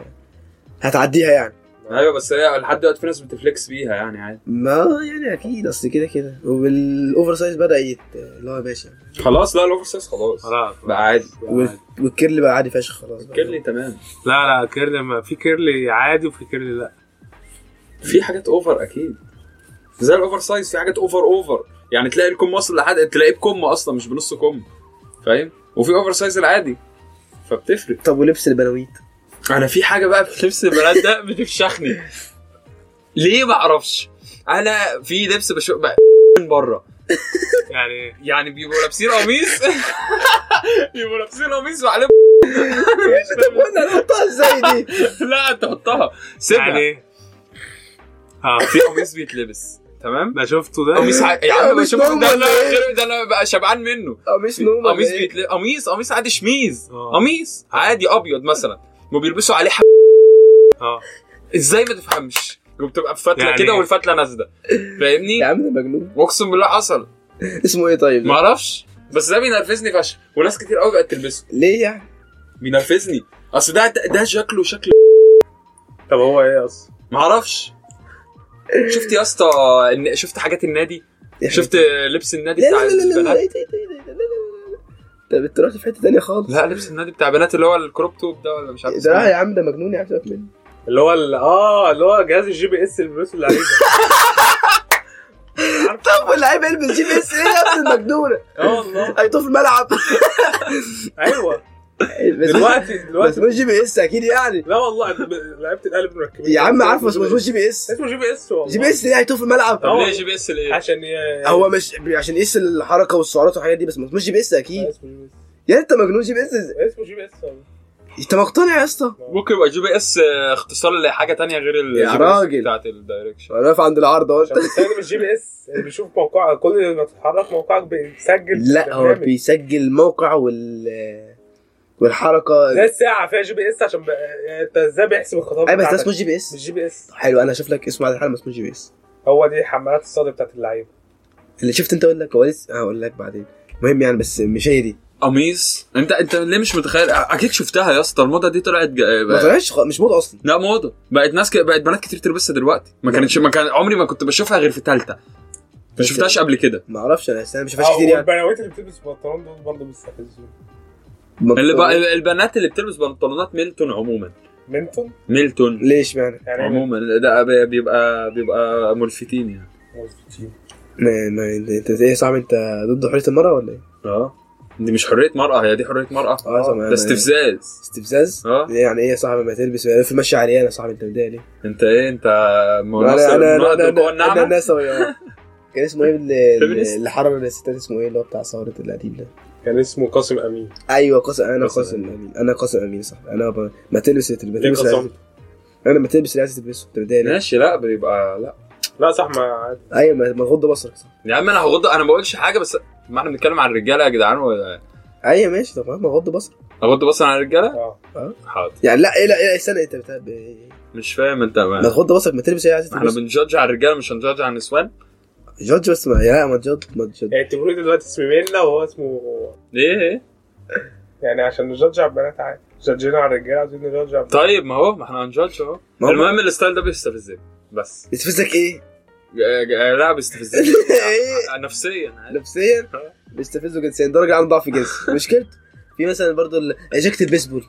هتعديها يعني
ايوه بس هي لحد دلوقتي في ناس بتفليكس بيها يعني عادي
ما يعني اكيد اصل كده كده والاوفر سايز بدا يت اللي هو يا باشا
خلاص لا الاوفر سايز خلاص
خلاص
بقى عادي
وال- والكيرلي بقى عادي فشخ خلاص بقى.
كيرلي تمام
لا لا كيرلي ما في كيرلي عادي وفي كيرلي لا
في حاجات اوفر اكيد زي الاوفر سايز في حاجات اوفر اوفر يعني تلاقي الكم اصلا لحد تلاقيه بكم اصلا مش بنص كم فاهم وفي اوفر سايز العادي فبتفرق
طب ولبس البلاويت
انا في حاجه بقى في لبس البنات ده بتفشخني ليه ما اعرفش انا في لبس بشوف بقى من بره
يعني
يعني بيبقوا لابسين قميص بيبقوا لابسين قميص وعليهم
طب وانا نحطها ازاي دي
لا تحطها سيبها
يعني
يعني
إيه؟ اه
في قميص بيتلبس تمام
ده شفته ده
قميص ع- يا عم
قميص
بشوف ده
نوم
لا
ولا إيه؟
غير- ده انا بقى شبعان منه
قميص نوم
قميص
ولا إيه؟
بيتل... قميص قميص عادي شميز
آه.
قميص عادي ابيض مثلا وبيلبسوا عليه ح...
اه
ازاي ما تفهمش وبتبقى بفتله
يعني
كده
إيه؟
والفتله نازله فاهمني
يا عم ده مجنون
اقسم بالله حصل
اسمه ايه طيب
ما اعرفش بس ده بينرفزني فشخ وناس كتير قوي بقت تلبسه
ليه يعني
بينرفزني اصل ده ده- ده شكله شكل
طب هو ايه اصلا؟
ما اعرفش شفت يا اسطى إن- شفت حاجات النادي
يعني
شفت لبس النادي
لا
بتاع
لا لا لا لا
البنات
إيه ده، إيه ده، إيه ده، لا لا لا لا. طب انت رحت في حته تانيه خالص
لا لبس النادي بتاع بنات اللي هو الكروب توب ده ولا مش عارف
ده يعني
اسمه.
يا عم ده مجنون يا عم سيبك منه
اللي هو ال- اه اللي هو جهاز الجي بي اس اللي بيلبسه اللي عليه ده. عارف؟
طب واللعيبه يلبس جي بي اس ايه يا ابن المجنونه
اه والله
هيطوف في الملعب
ايوه
بس-
دلوقتي
بس
دلوقتي
مش جي بي اس اكيد يعني
لا والله ب- لعيبه الاهلي مركبين
يا عم عارفه بس مش جي بي اس
اسمه جي بي اس والله
جي بي اس ليه هيطوف في الملعب
طب ليه
والله.
جي بي اس ليه؟
عشان ي-
هو مش عشان يقيس الحركه والسعرات والحاجات دي بس مش جي بي اس اكيد
اسمه جي بي اس
يا انت مجنون جي بي اس إزاي؟
اسمه جي بي اس والله
انت مقتنع يا اسطى
ممكن يبقى جي بي اس اختصار لحاجه تانية غير ال
يا
GPS
راجل.
بتاعت الدايركشن
انا واقف عند العارضه وانت
عشان بيستخدم الجي بي اس اللي بيشوف موقع كل ما تتحرك موقعك بيسجل
لا هو
برنامج.
بيسجل الموقع وال والحركه
ده الساعه فيها جي بي اس عشان بقى- انت ازاي بيحسب الخطوات
اي أيوة، بس ده
بتاعتك؟
اسمه جي بي
مش
اس
جي بي اس
حلو انا هشوف لك اسمه على الحال ما اسمه جي بي اس
هو دي حمالات الصدى بتاعت اللعيبه
اللي شفت انت اقول لك هو لسه هقول لك بعدين المهم يعني بس مش هي دي
قميص انت انت ليه مش متخيل اكيد شفتها يا اسطى الموضه دي طلعت جا...
ما
بقى...
طلعش خ- مش موضه اصلا
لا موضه بقت ناس ك... بقت بنات كتير تلبسها دلوقتي ما كانتش ما كان عمري ما كنت بشوفها غير في ثالثه ما
بس- يعني.
شفتهاش قبل كده
ما اعرفش انا بس انا ما شفتهاش
اه
كتير يعني
والبناوات اللي بتلبس بنطلون دول برضه بيستفزون
ما-
اللي بقى البنات اللي بتلبس بنطلونات ميلتون عموما
منتون
ميلتون
ليش معنى
يعني إيه
عموما ده بي- بيبقى بيبقى ملفتين يعني
منتون؟
ما ما انت انت ايه يا صاحبي انت ضد حريه المراه ولا ايه؟
اه دي مش حريه مرأة هي دي حريه مرأة
اه طب
ده
أنا-
استفزاز
استفزاز؟
اه.
ايه يعني ايه يا صاحبي ما تلبس في ماشي عليا انا يا صاحبي انت متضايق ليه؟
انت ايه انت
انا
مناصر
انا
المرأة
انا انا
بالقوة
انا
الناعمة
انا نسوي اه. كان اسمه ايه اللي-
فيمينيست.
اللي حرر الستات اسمه ايه اللي هو بتاع ثوره القديم ده؟
كان اسمه قاسم امين
ايوه قاسم انا
قاسم
قاسم امين انا قاسم امين صح انا ب... ما تلبس اللي- ما
ليه
تلبس
قاسم
اللي- انا ما تلبس اللي عايز تلبسه انت متضايق ليه؟
ماشي لا بيبقى لا
لا صح ما عادي
ايوه ما ما تغض بصرك صح
يا عم انا هغض انا ما بقولش حاجه بس ما احنا بنتكلم عن الرجاله يا جدعان ولا
ايوه ماشي طب ما غض بصرك
هغض بصري عن الرجاله
اه
حاضر
يعني لا ايه لا ايه استنى انت بتاع- ب-
مش فاهم انت
ما
ما
تغض بصرك ما تلبس اللي عايز
احنا
تلبسه
بنجادج على الرجاله مش هنجادج على النسوان
جادج بس ما لا ما تجادج ما تجادج
اعتبروه يعني دلوقتي اسم ميلا وهو اسمه
ليه ايه
يعني عشان نجدج على البنات عادي جدجنا على الرجاله عايزين نجدج على البنات
طيب ما هو ما احنا هنجادج اهو
ما هو-
المهم الستايل ده بيستفزني بس
يستفزك ايه؟
ج- ج- لا بيستفزني
إيه؟
نفسيا عادي.
نفسيا بيستفزه جنسيا ده راجل عنده ضعف جنسي مشكلته في مثلا برضو ال- جاكيت البيسبول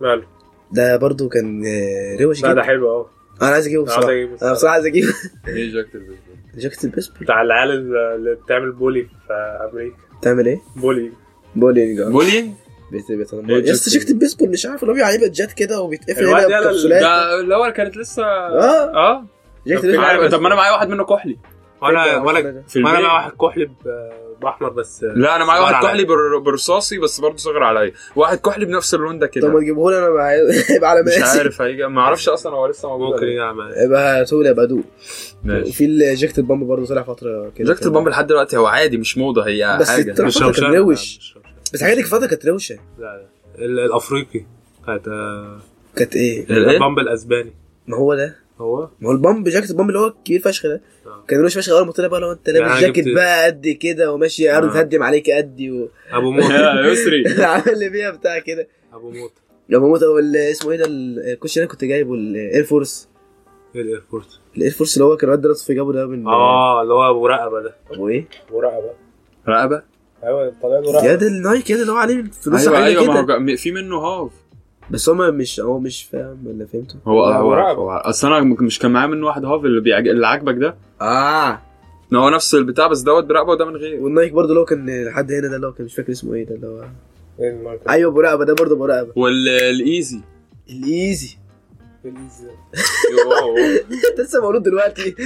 ماله
ده برضو كان آه، روش
لا ده
جدا
حلو اهو
انا عايز اجيبه
عايز
بصراحه
اجيبه
انا بصراحه عايز اجيب
ايه جاكت البيسبول؟
جاكيت البيسبول
بتاع العيال اللي بتعمل بولي في امريكا
بتعمل ايه؟
بولي
بولينج آه.
بولينج
بيت- بيتنمر.
إيه
يا اسطى
جاكيت-
جاكيت البيسبول مش عارف اللي هو بيعلي بجات كده وبيتقفل
الواد
هنا
يلا
بكبسولات
ده اللي هو كانت لسه
اه
اه
جاكيت
طب
البيسبول
عارف- طب ما انا معايا واحد منه كحلي
وانا وانا
آه.
في
وانا
البيت.
معايا واحد كحلي ب- باحمر بس
لا انا معايا
صغير
واحد
عليا.
كحلي بر- برصاصي بس برضه صغير عليا واحد كحلي بنفس اللون ده
طب ما
كده
تجيبهولي انا معايا- يبقى على
مش
مقاسي
عارف هيجي ما اعرفش اصلا هو لسه موجود
ممكن
ولا لا.
يعمل
يبقى هاتهولي يبقى ادوق
ماشي
وفي الجاكيت البامب برضه طلع فتره كده
جاكت
كان-
البامب لحد دلوقتي هو عادي مش موضه هي
بس
حاجه
الترا-
مش
فترة
روشان
كان روش.
مش روشان.
بس الحاجات دي في فتره كانت روشه
لا لا ال- الافريقي بتاعت آه،
كانت ايه؟
الايه؟
البامب الاسباني
ما هو ده
هو
ما هو البامب جاكيت البامب اللي هو الكبير فشخ ده
آه.
كان روش فشخ اول ما طلع بقى لو انت
يعني
لابس
أنا
جاكيت
جبت-
بقى قد كده وماشي ارض
آه. أيوه.
تهدم عليك قدي و...
ابو موت
يا يسري
عامل اللي بيها بتاع كده
ابو موت
إيه لما موت او ال- اسمه ايه ده الكوتش اللي انا كنت جايبه الاير فورس
ايه الايربورت
الاير فورس اللي هو كان الواد درس في جابه ده من
آه.
اه اللي هو ابو رقبه ده
ابو ايه؟
ابو رقبه
رقبه
ايوه طالع له
يا
رقبه
ده النايك يا ده اللي هو عليه فلوس
ايوه
عليه
ايوه ما
كده
هو ج- في منه هاف
بس هو ما- مش هو مش فاهم ولا فهمته
هو
لا، هو
هو
رقبة.
هو- اصل انا م- مش كان معايا منه واحد هاف اللي بيعج... اللي عاجبك ده آه.
اه
إن هو نفس البتاع بس دوت برقبه وده من غير
والنايك برضه اللي هو كان لحد هنا ده اللي هو كان مش فاكر اسمه ايه ده اللي هو
ايه الماركة؟
ايوه ابو رقبه ده برضه ابو رقبه
والايزي
الايزي
بليز
لسه مولود دلوقتي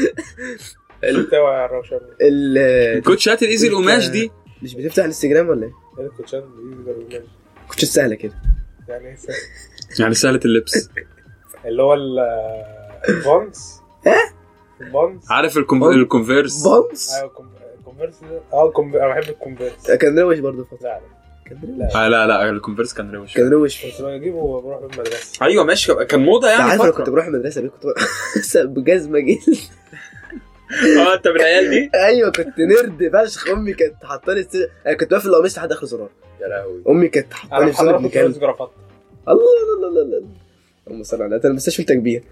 بتاع يا الروشن
ال-
الكوتشات الايزي القماش دي
مش بتفتح الانستجرام ولا ايه؟
ايه الكوتشات بليز ده الروشان؟
كنتش سهله كده
يعني ايه سهل؟
يعني سهله اللبس
اللي هو ال- البونز البونز
عارف الكم...
بون-
الكونفيرس
بونس
ايوه الكم- الكونفرس ده اه الكم- انا بحب الكونفرس
آه، كان روش برضه فتره
لا لا
كان روش
آه لا لا الكونفيرس كان روش
كان روش
كنت بجيبه وبروح المدرسه
ايوه ماشي كان موضه
انت
يعني
عارف انا
فترة.
كنت بروح المدرسه بيه كنت بروح بجزمه جلد
اه انت من العيال دي
ايوه كنت نرد فشخ امي كانت حاطاني السر- انا كنت واقف في القميص لحد اخر زرار
يا لهوي
امي كانت حاطاني
انا
في
بحضر
زرار
كنت
مكان
لابس جرافات
الله لا لا لا لا اللهم صل على النبي مستشفى وانت كبير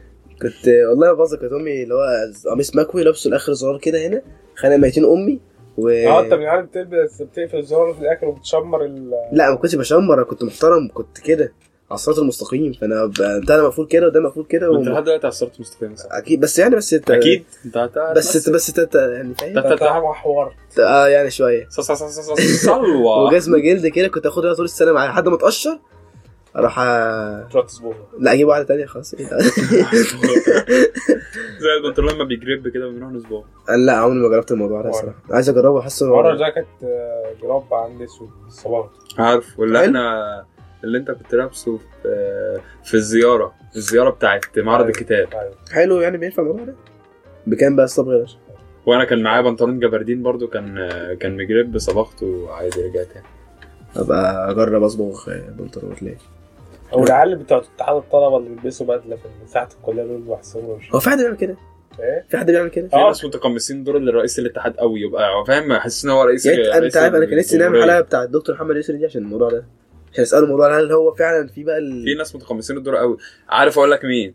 كنت والله باظه كانت امي اللي هو قميص مكوي لابسه لاخر زرار كده هنا خانق ميتين امي و
اه انت من العيال بتلبس بتقفل الزرار في الاخر وبتشمر ال-
لا ما كنتش بشمر انا كنت محترم كنت كده على الصراط المستقيم فانا ب... ده أنا مقفول كده وده مقفول كده
انت
و...
لحد دلوقتي عصرت مستقيم صح؟
اكيد بس يعني بس انت
اكيد انت هت-
بس انت بس انت يعني فاهم
تا- تا- تا.
بتاع حوار
اه يعني شويه
ص- ص- ص- ص- ص- صلوة
وجزمه جلد كده كنت اخدها طول السنه معايا لحد ما اتقشر اروح أ-
تراكس بوبا
لا اجيب واحده تانية خلاص إيه ده؟
زي البنطلون لما بيجرب كده بنروح نصبغه
انا لا عمري ما جربت الموضوع ده
وأنا.
صراحه عايز اجربه حاسه
مره جاكيت آه، جراب عندي اسود الصباح
عارف واللي
حلو.
احنا اللي انت كنت لابسه في في الزياره الزياره بتاعت معرض
أيوة.
الكتاب
ايوه
حلو يعني بينفع الموضوع ده بكام بقى الصبغ يا باشا
وانا كان معايا بنطلون جبردين برضو كان كان مجرب صبغته عادي رجع تاني
ابقى اجرب اصبغ آه، بنطلون ليه
او العيال بتوع اتحاد الطلبه اللي بيلبسوا بدله في ساعه الكليه دول بحسهم مش
هو في حد بيعمل كده
ايه
في حد بيعمل كده
في
آه.
ناس متقمصين دور الرئيس الاتحاد قوي يبقى فاهم حاسس ان هو رئيس
يعني انت
رئيس
عارف انا كان نفسي نعمل
الجمهورية.
حلقه بتاع الدكتور محمد يسري دي عشان الموضوع ده عشان اساله الموضوع هل هو فعلا في بقى
في
ال...
ناس متقمصين الدور قوي عارف اقول لك مين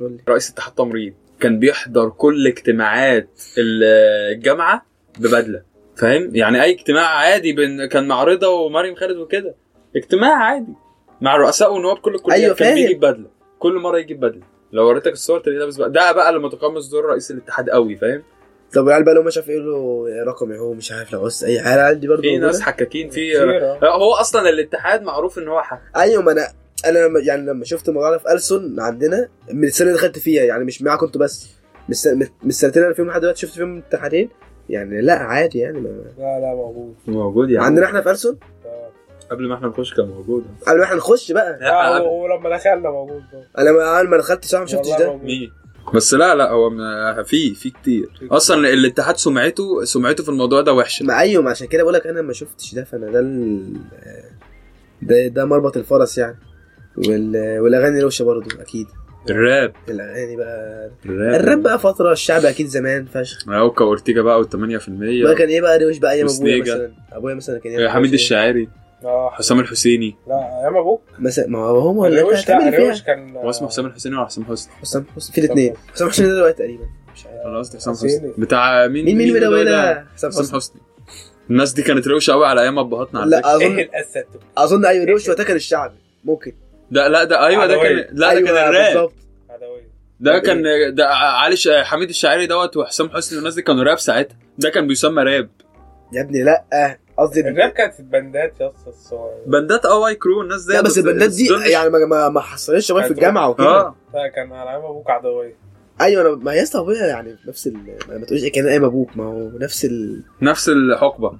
قول لي.
رئيس اتحاد تمريض كان بيحضر كل اجتماعات ال- الجامعه ببدله فاهم يعني اي اجتماع عادي بين كان مع رضا ومريم خالد وكده اجتماع عادي مع رؤساء ونواب كل الكليات
أيوة
كان
فاهم.
بيجي بدله كل مره يجي بدله لو وريتك الصور تلاقيه لابس بقى ده بقى اللي متقمص دور رئيس الاتحاد قوي فاهم
طب العيال بقى لو مش عارف يقول له رقمي هو مش عارف لو عوزت اي حاجه العيال دي برضه
في ناس
موجودة؟
حكاكين في
كتير، آه.
هو اصلا الاتحاد معروف ان هو حكاك
ايوه ما انا انا لما يعني لما شفت الموضوع ده في السون عندنا من السنه اللي دخلت فيها يعني مش معاكم انتوا بس من السنة- من السنتين اللي فيهم لحد دلوقتي شفت فيهم امتحانين يعني لا عادي يعني ما...
لا لا موجود
موجود يعني
عندنا احنا في السون
آه.
قبل ما احنا نخش كان موجود
قبل ما احنا نخش بقى
لا آه، و- ولما دخلنا موجود برضه.
انا ما اول ما دخلت صراحه ما شفتش
والله
ده
موجود.
مين بس لا لا هو م- في في كتير اصلا الاتحاد سمعته سمعته في الموضوع ده وحشه
ما ايوه ما عشان كده بقول لك انا ما شفتش ده فانا ده ال... ده ده مربط الفرس يعني وال... والاغاني روشه برضو اكيد
الراب
الاغاني بقى
الراب
الراب بقى فتره الشعب اكيد زمان فشخ
اوكا اورتيجا بقى
بقى
وال8%
كان ايه بقى روش بقى ايام ابويا
وسنيجا.
مثلا ابويا مثلا كان يعمل
حميد
روش إيه؟
الشاعري
اه
حسام الحسيني
لا ايام ابوك
مثلا ما هو هم اللي انت
الروش لا
هتعمل إيه؟ فيها
الروش كان آه،
هو اسمه حسام الحسيني ولا حسام حسني؟
حسام حسني في الاثنين حسام حسني ده دلوقتي تقريبا مش عارف
انا قصدي حسام
حسيني.
حسني بتاع مين
مين مين مدولة حسام
حسام
حسني
حسني الناس دي كانت روشه قوي على ايام ابهاتنا على فكرة.
لا
ايه
اظن
الاسد
اظن ايوه روش وقتها كان الشعبي ممكن
ده لا ده ايوه ده
عدوية.
كان لا ده
أيوة
كان الراب
بالظبط.
عدوية
ده كان ده علي ش- حميد الشاعري دوت وحسام حسني والناس دي كانوا راب ساعتها ده كان بيسمى راب
يا ابني لا قصدي
الراب كانت في البندات يا اسطى الصور
بندات اه واي كرو الناس دي
لا بس البندات دي
دول مش-
يعني ما ما- ما حصلتش شباب في
كانت
الجامعه وكده
اه
لا كان على ايام ابوك عدوية
ايوه انا ما يا اسطى ابويا يعني نفس ال... ما- ما تقولش كان ايام ابوك أيوة، ما هو نفس ال
نفس الحقبه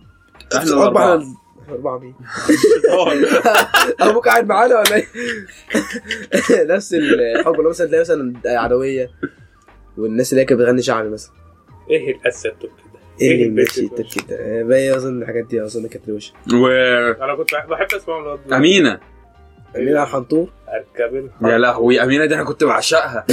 احنا
الأربعة-
الاربعه
احنا اربعه مين؟ ابوك قاعد معانا ولا ايه؟ نفس الحقبه اللي هو مثلا تلاقي مثلا عدويه والناس اللي هي كانت بتغني شعبي مثلا
ايه الاسد كده
ايه
إيه،
اللي
البيت
ماشي
ده؟
التركيب ده؟ باقي اظن الحاجات دي اظن كانت روشه
و
انا كنت بحب اسمعهم الواد دول.
امينه إيه.
امين على الحنطور
اركب
آه.
الحرب.
يا لهوي امينه دي انا كنت بعشقها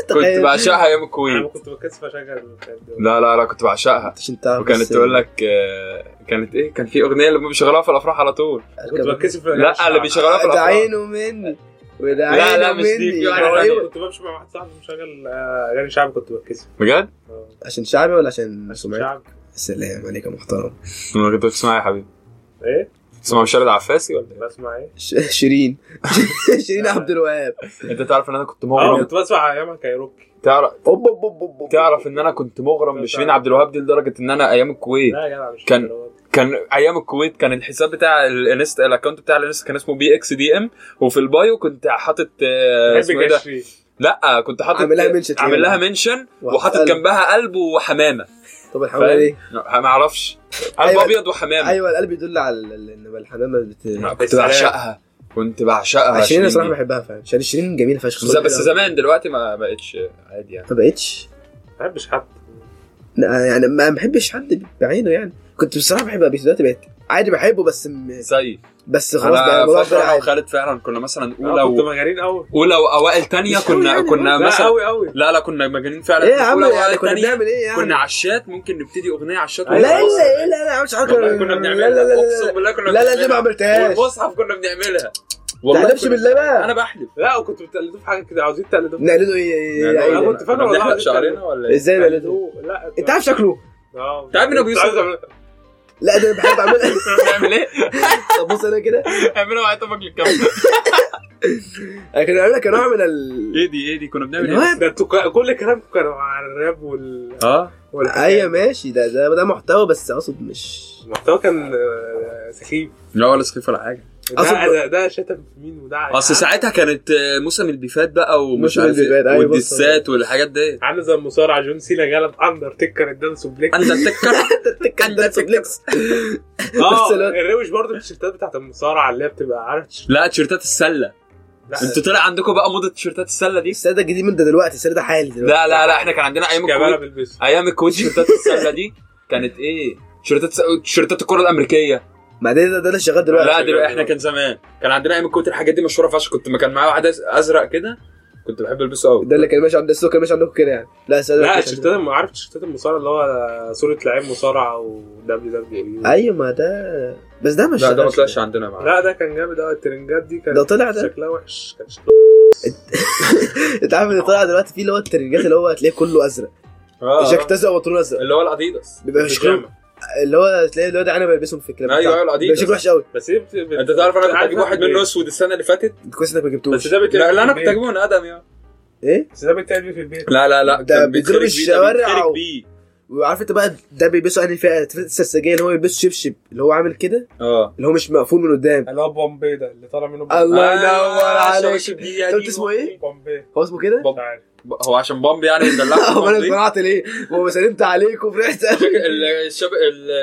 كنت
تخيل.
بعشقها ايام
انا
الكويت
كنت بكسف اشغل الحاجات دي.
لا لا لا كنت بعشقها
عشان تعرف
وكانت تقول لك آه، كانت ايه كان في اغنيه اللي هم بيشغلوها في الافراح على طول
كنت بكسف
لا اللي بيشغلوها في
ده
الافراح
عينه مني وده
لا لا
عينه
مش دي
مني.
في واحدة
أيوة.
انا
تانية.
كنت بمشي مع واحد صاحبي مشغل آه، اغاني شعبي كنت بتكسف
بجد؟
آه،
عشان شعبي ولا عشان سمعتك؟
شعب
السلام عليك يا محترم
ما كنت بتسمع يا حبيبي
ايه
بتسمع مشارد عفاسي ولا
بسمع ايه
ش- شيرين شيرين عبد الوهاب
إيه؟ انت تعرف ان انا كنت
اه
مغرم
كنت بسمع ايام كايروكي
تعرف
اوب اوب اوب اوب
تعرف ان انا كنت مغرم بشيرين عبد الوهاب دي لدرجه ان انا ايام الكويت
لا يا جدع مش
كان-
الدرجة دي.
كان ايام الكويت كان الحساب بتاع الانستا الاكونت بتاع الانستا كان اسمه بي اكس دي ام وفي البايو كنت حاطط آه، اسمه
بحب
ايه ده؟
كشري
لا كنت حاطط
عامل لها منشن
عامل لها منشن وحاطط
قلب.
جنبها قلب وحمامه
طب الحمام
فاهم؟
ايه؟
ما اعرفش قلب
أيوة.
ابيض وحمامه
ايوه القلب يدل على ال- ان الحمامه بت...
كنت بعشقها كنت بعشقها
عشان انا صراحه
دي.
بحبها فعلا عشان شيرين جميله فشخ
بس- بس زمان دلوقتي ما بقتش عادي يعني
ما بقتش
ما بحبش حد
لا، يعني ما بحبش حد بعينه يعني كنت بصراحه بحبها بس دلوقتي بقيت عادي بحبه بس م...
زي
بس خلاص بقى
انا
الموضوع
فاكر
بقى
انا
عادي.
وخالد فعلا كنا مثلا اولى
اه كنت
و...
مجانين قوي
اولى واوائل تانية
مش أوي
كنا
يعني،
كنا
لا
مثلا
قوي قوي
لا لا كنا مجانين فعلا
ايه يا عم
اولى
يعني
واوائل
كنا
تانية
بنعمل ايه يعني
كنا على الشات ممكن نبتدي اغنيه على الشات
لا لا
ونخلص.
لا لا لا مش حركه
والله كنا
لا
بنعملها
لا لا
اقسم
لا
بالله كنا
لا لا دي ما
بنعملها.
عملتهاش
والمصحف كنا بنعملها
تعلمش
كنا-
بالله بقى
انا بحلف
لا وكنت بتقلدوه في حاجه كده عاوزين تقلدوه
نقلده ايه- ايه
يعني
ايه-
أنا
ايه-
كنت فاكر
كنا
والله
بنحلق
العظيم
شعرنا ولا ايه؟
ازاي نقلده
لا
انت عارف شكله
اه
تعرف مين أبو يوسف؟
عايز أعمل-
لا ده انا بحب اعملها
بنعمل ايه؟
طب بص انا كده
اعملها وعيط امك للكاميرا
انا كان عاملها كنوع من ال
ايه دي ايه دي كنا بنعمل ايه؟
الوهم
ده انتوا ك- كل كلامكم كانوا على الراب وال
اه
والحاجات.
ايوه ماشي ده ده ده محتوى بس اقصد مش
المحتوى كان آه، سخيف
لا ولا سخيف ولا حاجه
ده
أصل-
ده, ده شتم في مين وده
اصل ساعتها كانت آه، موسم البيفات بقى ومش
موسم
عارف
البيفات،
ايه
أيوة،
والدسات والحاجات دي
عامل زي المصارعه جون سينا جالب اندرتيكر اداله سوبليكس
انت تتكر
كان ده سوبلكس
اه
بس لا.
الروش برضه التيشيرتات بتاعت المصارعه اللي هي بتبقى عارف تيشيرت-
لا تيشيرتات السله
لا،
انتوا طلع عندكم بقى موضه تيشيرتات السله دي
السنه ده جديد من ده دلوقتي السنه ده حالي دلوقتي
لا لا لا احنا كان عندنا ايام
كابالا
الكويت
بيلبسه
ايام الكويت تيشيرتات السله دي كانت ايه؟ تيشيرتات تيشيرتات الكره الامريكيه
ما ده ده ده اللي شغال دلوقتي
لا دلوقتي احنا كان زمان كان عندنا ايام الكوت الحاجات دي مشهوره فشخ كنت ما كان معايا واحد أز- ازرق كده كنت بحب البسه قوي
ده اللي كان ماشي عند السوق كان ماشي عندكم كده يعني لا السنه ده
لا
كان-
التيشيرتات الم- عارف تيشيرتات المصارعه اللي هو صوره لعيب مصارعه ودبليو دبليو اي
ايوه ما ده بس ده مش
لا ده ما
شغال.
طلعش عندنا معاه
E. لا ده كان جامد قوي الترنجات دي كانت
ده طلع ده.
شكلها وحش كان شكلها
انت عارف اللي طالع دلوقتي فيه اللي هو الترنجات اللي هو هتلاقيه كله ازرق
آه،
جاكيت ازرق وبنطلون ازرق
اللي هو الاديداس
بيبقى شكله اللي هو تلاقي الواد انا بلبسهم في الكلام
ايوه
بتاعه.
ايوه
بيبقى شكله
الاديداس
وحش قوي
بس هي بت- بت-
انت تعرف انا كنت
عارف
اجيب واحد
بت-
منه اسود السنه اللي فاتت
كويس انك ما
بس
جبتوش
ده بيتقلب
لا لا انا
في
كنت
البيت.
اجيبه من ادم يا
ايه
بس ده بيتقلب في البيت
لا لا لا
ده بيضرب
كان بيتخرج بيه، ده
الشوارع
بيتخرج
و-
بيه
وعارف انت بقى ده بيلبسوا انهي فئه فئه السرسجيه اللي هو بيلبس شبشب اللي هو عامل كده
اه
اللي هو مش مقفول من قدام
اللي هو بومبي ده اللي طالع منه
الله
آه،
ينور
عشان
عليك.
وشي بدي
انت
أجيبه.
قلت اسمه ايه؟
بومبي
هو اسمه كده؟
مش عارف
ب- هو عشان بامبي يعني دلعت
هو انا اتقنعت ليه؟ هو سلمت عليك وفرحت قوي
الشب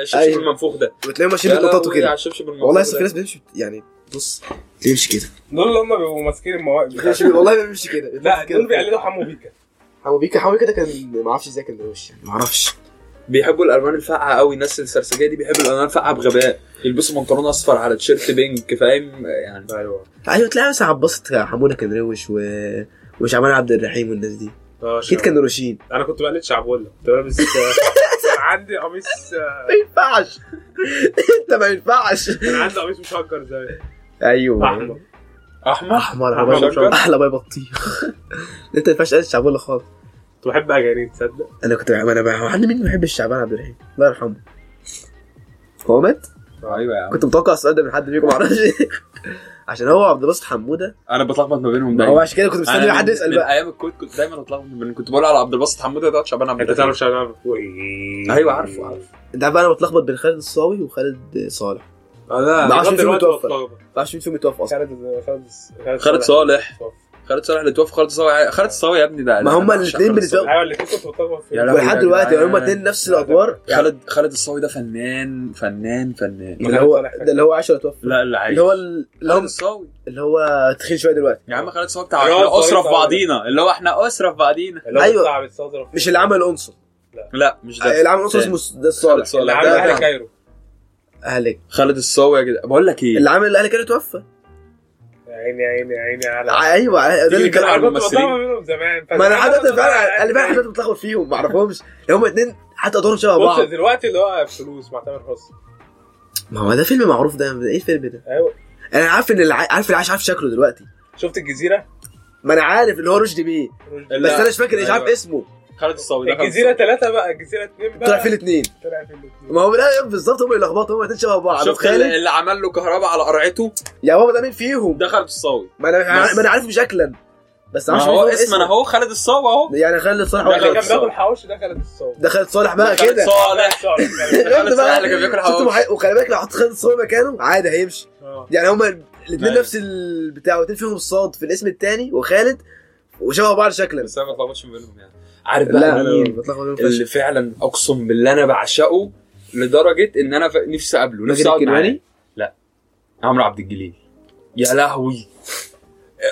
الشبشب
أيوة.
المنفوخ ده
وتلاقيهم ماشيين
لا، لا،
بطاطو
على
كده
الشبشب المنفوخ
والله لسه في
ده.
ناس بتمشي يعني بص بتمشي كده
دول اللي هم بيبقوا ماسكين المواقف
بتمشي- والله بتمشي كده
لا
كده
دول بيقلدوا حمو بيكا
حمو بيكا حمو بيكا ده كان ما اعرفش ازاي كان بيوش يعني ما اعرفش
بيحبوا الالوان الفاقعه قوي الناس السرسجيه دي بيحبوا الالوان الفاقعه بغباء يلبسوا بنطلون اصفر على تيشيرت بينك فاهم يعني
ايوه
ايوه تلاقي مثلا عباسط حموده كان روش و وشعبان عبد الرحيم والناس دي
اه
اكيد
شعب.
كانوا روشين
انا كنت بقلد شعبولة كنت بلبس كان عندي قميص آه،
ما ينفعش انت ما ينفعش
كان عندي قميص مشجر زي
ايوه
احمر
احمر
احمر
أحمر
أحمر.
شجر.
احلى باي بطيخ انت ما ينفعش تقلد شعبولة خالص
كنت بحب اجانين تصدق
انا كنت انا بقى هو عندي مين ما بيحبش شعبان عبد الرحيم الله يرحمه هو مات
ايوه يا عم
كنت متوقع السؤال ده من حد فيكم معرفش إيه. عشان هو عبد الباسط حموده
انا بتلخبط ما بينهم
هو
دايما
عشان كده كنت
نعم. أنا
مستني
من-
حد يسال
من
بقى
ايام الكويت كنت دايما بتلخبط ما بينهم كنت بقول على عبد الباسط حموده ده شعبان عبد
انت
أيوة.
الرحيم
تعرف شعبان
ايوه عارفه عارفه
انت عارف بقى انا بتلخبط بين خالد الصاوي وخالد صالح
آه، لا
ده عشان
لغاية
فيلم
دلوقتي
توفى.
بتلخبط.
ما اعرفش مين فيهم يتوفى اصلا
خالد خالد
خالد صالح خالد صالح اللي توفى خالد صاوي خالد صاوي يا ابني ده
ما هما
أنا بعشق
الاتنين
خالد
بالنسبة-
الصاوي.
ايوه اللي كنت بتلخبط فيه
يا لهوي.
ولحد
يا
دلوقتي
جدعان.
هما الاتنين نفس الادوار يعني
خالد خالد الصاوي ده فنان فنان فنان
ده اللي هو ده اللي هو عاش ولا توفى
لا اللي عايش
اللي هو ال- اللي
خالد
هو
الصاوي
اللي هو تخين شويه دلوقتي
يا عم خالد الصاوي بتاع
اللي هو
احنا اسره في
الصاوي ده.
بعضينا اللي هو احنا اسره في بعضينا
اللي هو
أيوة.
بتاع بيتصادر
مش اللي عمل انصر
لا مش ده
اللي عمل انصر
تاني.
اسمه ده الصالح
خالد صالح.
اللي
ده-
عامل
ده-
اهل كايرو
اهلك
خالد الصاوي يا جدع بقول لك ايه
اللي عمل الاهلي كده توفى
يا عيني يا عيني يا عيني على
ايوه ده اللي
تيجي
كان
نتكلم عن
انا كنت
الممثلين.
بطلع منهم زمان
ما انا حتى فعلا انا فعلا حتى بتلخبط فيهم ما اعرفهمش هما اتنين حتى ادوارهم شبه
بص
بعض
دلوقتي اللي هو فلوس مع تامر حسني
ما هو ده فيلم معروف ده ايه الفيلم ده
ايوه
انا عارف ان الع... عارف اللي عايش عارف شكله دلوقتي
شفت الجزيره؟
ما انا عارف اللي هو رشدي بيه بس
لا.
انا مش فاكر مش عارف
أيوة.
اسمه
خالد الصاوي ده خالد
الجزيره ثلاثه بقى الجزيره اثنين بقى
طلع فيه الاثنين
طلع في الاثنين
ما هو لا بالظبط هم اللي لخبطوا هم الاثنين شبه بعض
شفت
متخيل؟
اللي, اللي عمل له كهرباء على قرعته
يا بابا ده مين فيهم؟
ده خالد الصاوي
ما انا
بس.
ما انا عارفه شكلا بس
ما
عارفش
هو اسمنا اهو خالد الصاوي اهو
يعني خالد صالح
ده
هو
اللي
خالد
كان
خالد
صالح.
بياكل
الصاوي.
حوش ده خالد الصاوي
ده خالد صالح بقى
خالد
كده
صالح
صالح.
خالد
شفت
صالح
بقى
اللي كان بياكل
شفت
حواوشي.
محي- وخلي بالك لو حطيت خالد صالح مكانه عادي هيمشي
آه.
يعني هما الاثنين
أيوة.
نفس البتاع والاثنين فيهم الصاد في الاسم الثاني وخالد وشبه بعض شكلا
بس انا ما اتلخبطش ما بينهم يعني عارف
لا
بقى
مين
مين
بتلخبط بينهم فشخ.
اللي فعلا اقسم بالله انا بعشقه لدرجه ان انا ف- نفسي اقابله
ماجد
نفسي اقعد معاه
الكدواني؟
لا عمرو عبد الجليل يا لهوي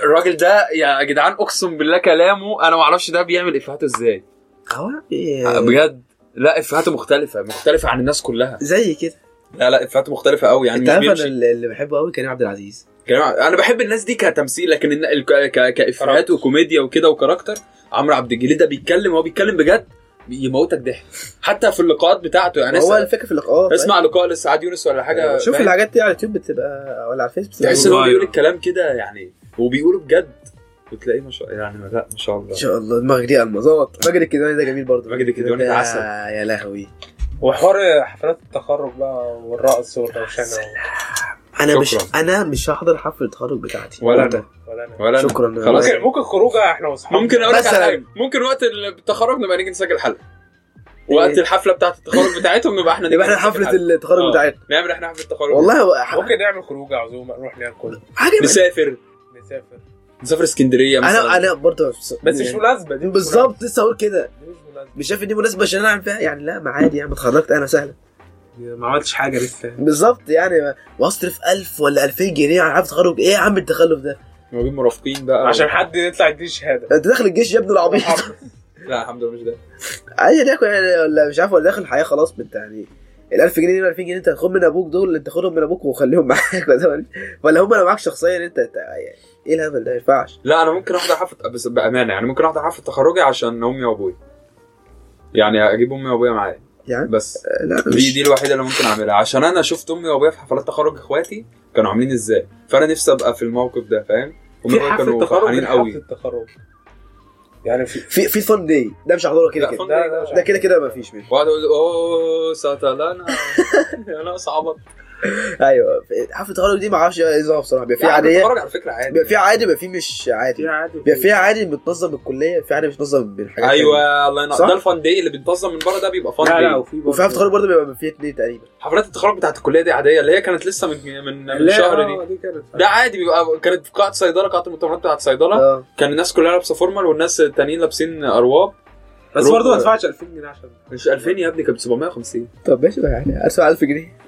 الراجل ده يا جدعان اقسم بالله كلامه انا ما اعرفش ده بيعمل افيهاته ازاي
هو إيه،
بجد لا افيهاته مختلفه مختلفه عن الناس كلها
زي كده
لا لا افيهاته مختلفه قوي يعني
انت
مش
عارف انا
بيمشي
اللي اللي بحبه قوي كريم عبد العزيز
كلام- انا بحب الناس دي كتمثيل لكن الن- ال- ك- ك- كافيهات
كاركتر.
وكوميديا وكده وكاركتر عمرو عبد الجليل ده بيتكلم هو بيتكلم بجد يموتك ضحك حتى في اللقاءات بتاعته يعني
هو
اسمع,
الفكره في اللقاءات
اسمع لقاء لسعاد يونس ولا حاجه
أيوة. شوف
فاهم؟
الحاجات دي على اليوتيوب بتبقى ولا على الفيس بتبقى
تحس ان هو
أيوة.
بيقول الكلام كده يعني وبيقوله بجد وتلاقيه ما شاء يعني لا ما شاء الله
ان شاء الله دماغك دي المظات ماجد الكدواني ده جميل برضه
آه. ماجد الكدواني ده عسل.
يا لهوي
وحوار حفلات التخرج بقى والرقص والروشنه
انا مش
شكراً.
انا مش هحضر حفله التخرج بتاعتي
ولا
وأنت؟
ولا أنا.
ولا أنا.
شكراً.
خلاص
ممكن ممكن خروجه احنا واصحابنا
ممكن اقول لك على
مثلاً.
حاجه ممكن وقت التخرج نبقى نيجي نسجل حلقه وقت الحفله بتاعه التخرج بتاعتهم نبقى احنا نيجي
إيه؟ يبقى احنا
نسجل
حفله
حلقة.
التخرج
آه.
بتاعتنا
نعمل احنا حفله التخرج
والله هو ح-
ممكن نعمل خروجه عزومه نروح ناكل
حاجه
نسافر
نسافر
نسافر اسكندريه مثلا
انا انا برضه يعني
بس مش مناسبه دي مش
بالظبط لسه هقول كده
مناسبة. دي مش مناسبه
مش شايف ان دي مناسبه عشان انا اعمل فيها يعني لا ما عادي يعني ما اتخرجت انا سهله
ما عملتش حاجه لسه
بالظبط يعني ما- واصرف 1000 ولا 2000 جنيه على حفله تخرج ايه يا عم التخلف ده
موجودين مرافقين بقى
عشان حد يطلع يديه شهاده
انت داخل الجيش يا ابن العبيط
لا الحمد لله مش ده
عايز تاكل يعني ولا مش عارف ولا داخل الحياه خلاص انت يعني ال 1000 جنيه ال 2000 جنيه انت هتاخد من ابوك دول انت خدهم من ابوك وخليهم معاك ولا- ولا هم لو معاك شخصيا انت انت- يعني ايه الهبل ده ما ينفعش
لا انا ممكن احضر حفله بس بامانه يعني ممكن احضر حفله تخرجي عشان امي وابويا يعني اجيب امي وابويا معايا
يعني؟
بس
لا
دي
مش
دي الوحيده اللي ممكن اعملها عشان انا شفت امي وابويا في حفلات تخرج اخواتي كانوا عاملين ازاي فانا نفسي ابقى في الموقف ده فاهم امي
في
وابويا
حفله
كانوا
تخرج
فرحانين
غير حفله
قوي
التخرج يعني في
في في فن داي ده مش هحضره كده
لا،
كده
fun
ده- ده مش
ده كده كده مفيش منه
وقعد اقول اوه ساتلانا يا ناقص عبط
ايوه حفله التخرج دي ما اعرفش ايه نظامها بصراحه بيبقى
يعني
فيها عاديه
تخرج على فكره عادي
بيبقى فيها عادي بيبقى فيها مش عادي
في عادي
بيبقى فيها عادي بتنظم الكليه في عادي بتنظم من حاجات تانية.
ايوه الله ينور
صح؟
ده الفان داي اللي بيتنظم من بره ده بيبقى فان
لا لا
داي
وفي
وفي حفله التخرج برضه بيبقى فيها اتنين تقريبا
حفلات التخرج بتاعت الكليه دي عاديه اللي هي كانت لسه من من, من الشهر
اه،
دي ده عادي بيبقى كانت في قاعه صيدله قاعه المؤتمرات بتاعت صيدله
اه
كان الناس كلها لابسه فورمال والناس التانيين لابسين ارواب
بس
روح.
برضه ما ادفعش 2000 جنيه عشان
مش 2000 يا ابني كانت 750
طب ماشي بقى يعني ادفع 1000 جنيه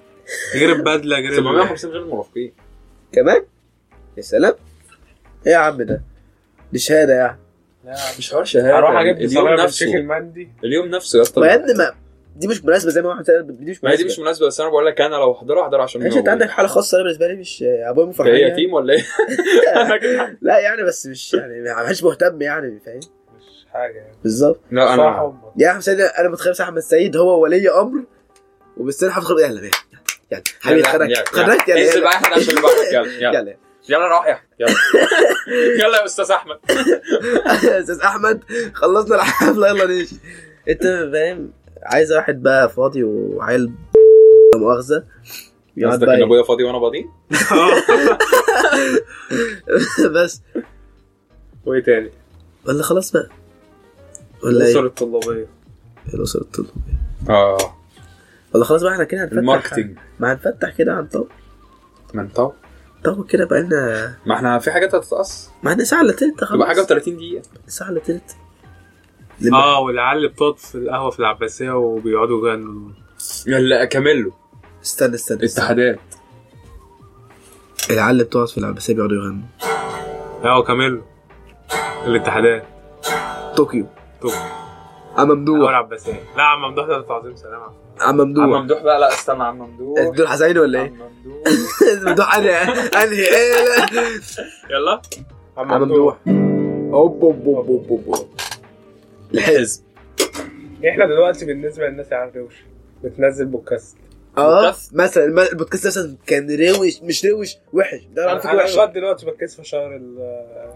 غير البدله غير
750 غير المرافقين
كمان يا سلام ايه يا عم ده دي شهاده يعني
مش حوار شهاده
هروح اجيب لي
اليوم
صينيه
نفسه
بالشيخ المندي
اليوم نفسه يا اسطى
ما يا ابني ما دي مش مناسبه زي ما واحد قال دي مش
ما هي دي مش
مناسبه
مناسبه بس انا بقول لك انا لو هحضرها هحضرها عشان
ماشي انت عندك حاله خاصه انا بالنسبه لي مش ابويا مو فرحان
هي
يعني.
يتيم ولا ايه؟
لا يعني بس مش يعني ما حدش مهتم يعني فاهم
مش حاجه يعني
بالظبط
لا
صراحة
انا
هم-
يا احمد سيد انا متخيل صح احمد سعيد هو ولي امر وبيستنى حفله خرج اهلا بيه يعني حبيبي اتخرجت اتخرجت يعني
انزل بقى احنا عشان اللي بعدك يلا يلا
يلا
يلا روح يا أحمد، يلا يلا يا استاذ احمد
يا استاذ احمد خلصنا الحفله يلا نمشي انت فاهم عايز واحد بقى فاضي وعيل لا مؤاخذه يقعد
قصدك
بقى
ان ابويا فاضي وانا فاضي
بس
وايه تاني؟
ولا خلاص بقى ولا
الاسر
ايه
الطلابيه
الاسر الطب
اه
ولا خلاص بقى احنا كده هنفتح
الماركتنج
ما هنفتح كده عن طب
من طب
طب كده بقى لنا
ما احنا في حاجات هتتقص
ما عندنا ساعه الا تلت خلاص
تبقى حاجه و30 دقيقه
ساعه الا تلت
اه والعيال اللي بتقعد في القهوه في العباسيه وبيقعدوا يغنوا
يلا كاميلو
استنى استنى, استنى.
اتحادات
العيال اللي بتقعد في العباسيه بيقعدوا يغنوا
اه كاميلو الاتحادات
طوكيو
طوكيو.
عم
القهوه
ممدوح
العباسيه لا عم ممدوح ده تعظيم سلام
عم
عم
ممدوح
ممدوح بقى لا استنى عم ممدوح
دول حزين ولا ايه؟
عم ممدوح
ممدوح انهي انهي ايه لا.
يلا
عم ممدوح اوب اوب اوب اوب اوب أوب. الحزب
احنا دلوقتي بالنسبه للناس اللي على الروش بتنزل بودكاست
اه
بودكاست.
مثلا ما- البودكاست مثلا كان روش مش روش وحش ده على فكره
انا
وحش
لغايه دلوقتي بتكسف اشير ال-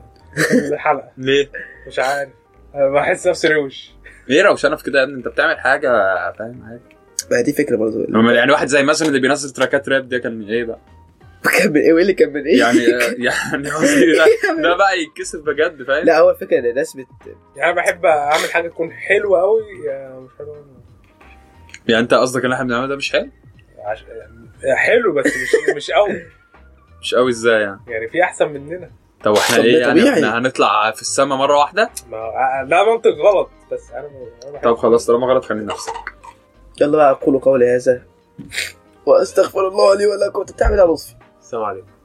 الحلقه
ليه؟
مش عارف أنا بحس نفسي روش
ايه روشانه في كده يا ابني انت بتعمل حاجه فاهم عادي
ما هي دي فكره برضه
أما يعني واحد زي مثلا اللي بينزل تراكات راب ده كان ايه بقى؟
كان من ايه وايه اللي كان من ايه
يعني يعني قصدي ده, ده بقى يتكسف بجد فاهم؟
لا هو الفكره ان الناس بت
يعني انا بحب اعمل حاجه تكون حلوه قوي مش حلوه أوي.
يعني انت قصدك اللي احنا بنعمله ده مش حلو؟
عش... يعني حلو بس مش مش قوي
مش قوي ازاي يعني؟
يعني في احسن مننا
طب واحنا
طب ده
ايه يعني
طبيعي.
احنا هنطلع في السما مره واحده؟
ما ده منطق غلط بس انا أنا بحب-
طب خلاص طالما غلط خلينا نفسك
يلا بقى اقول قولي هذا واستغفر الله لي ولكم تعمل على لطفي
السلام عليكم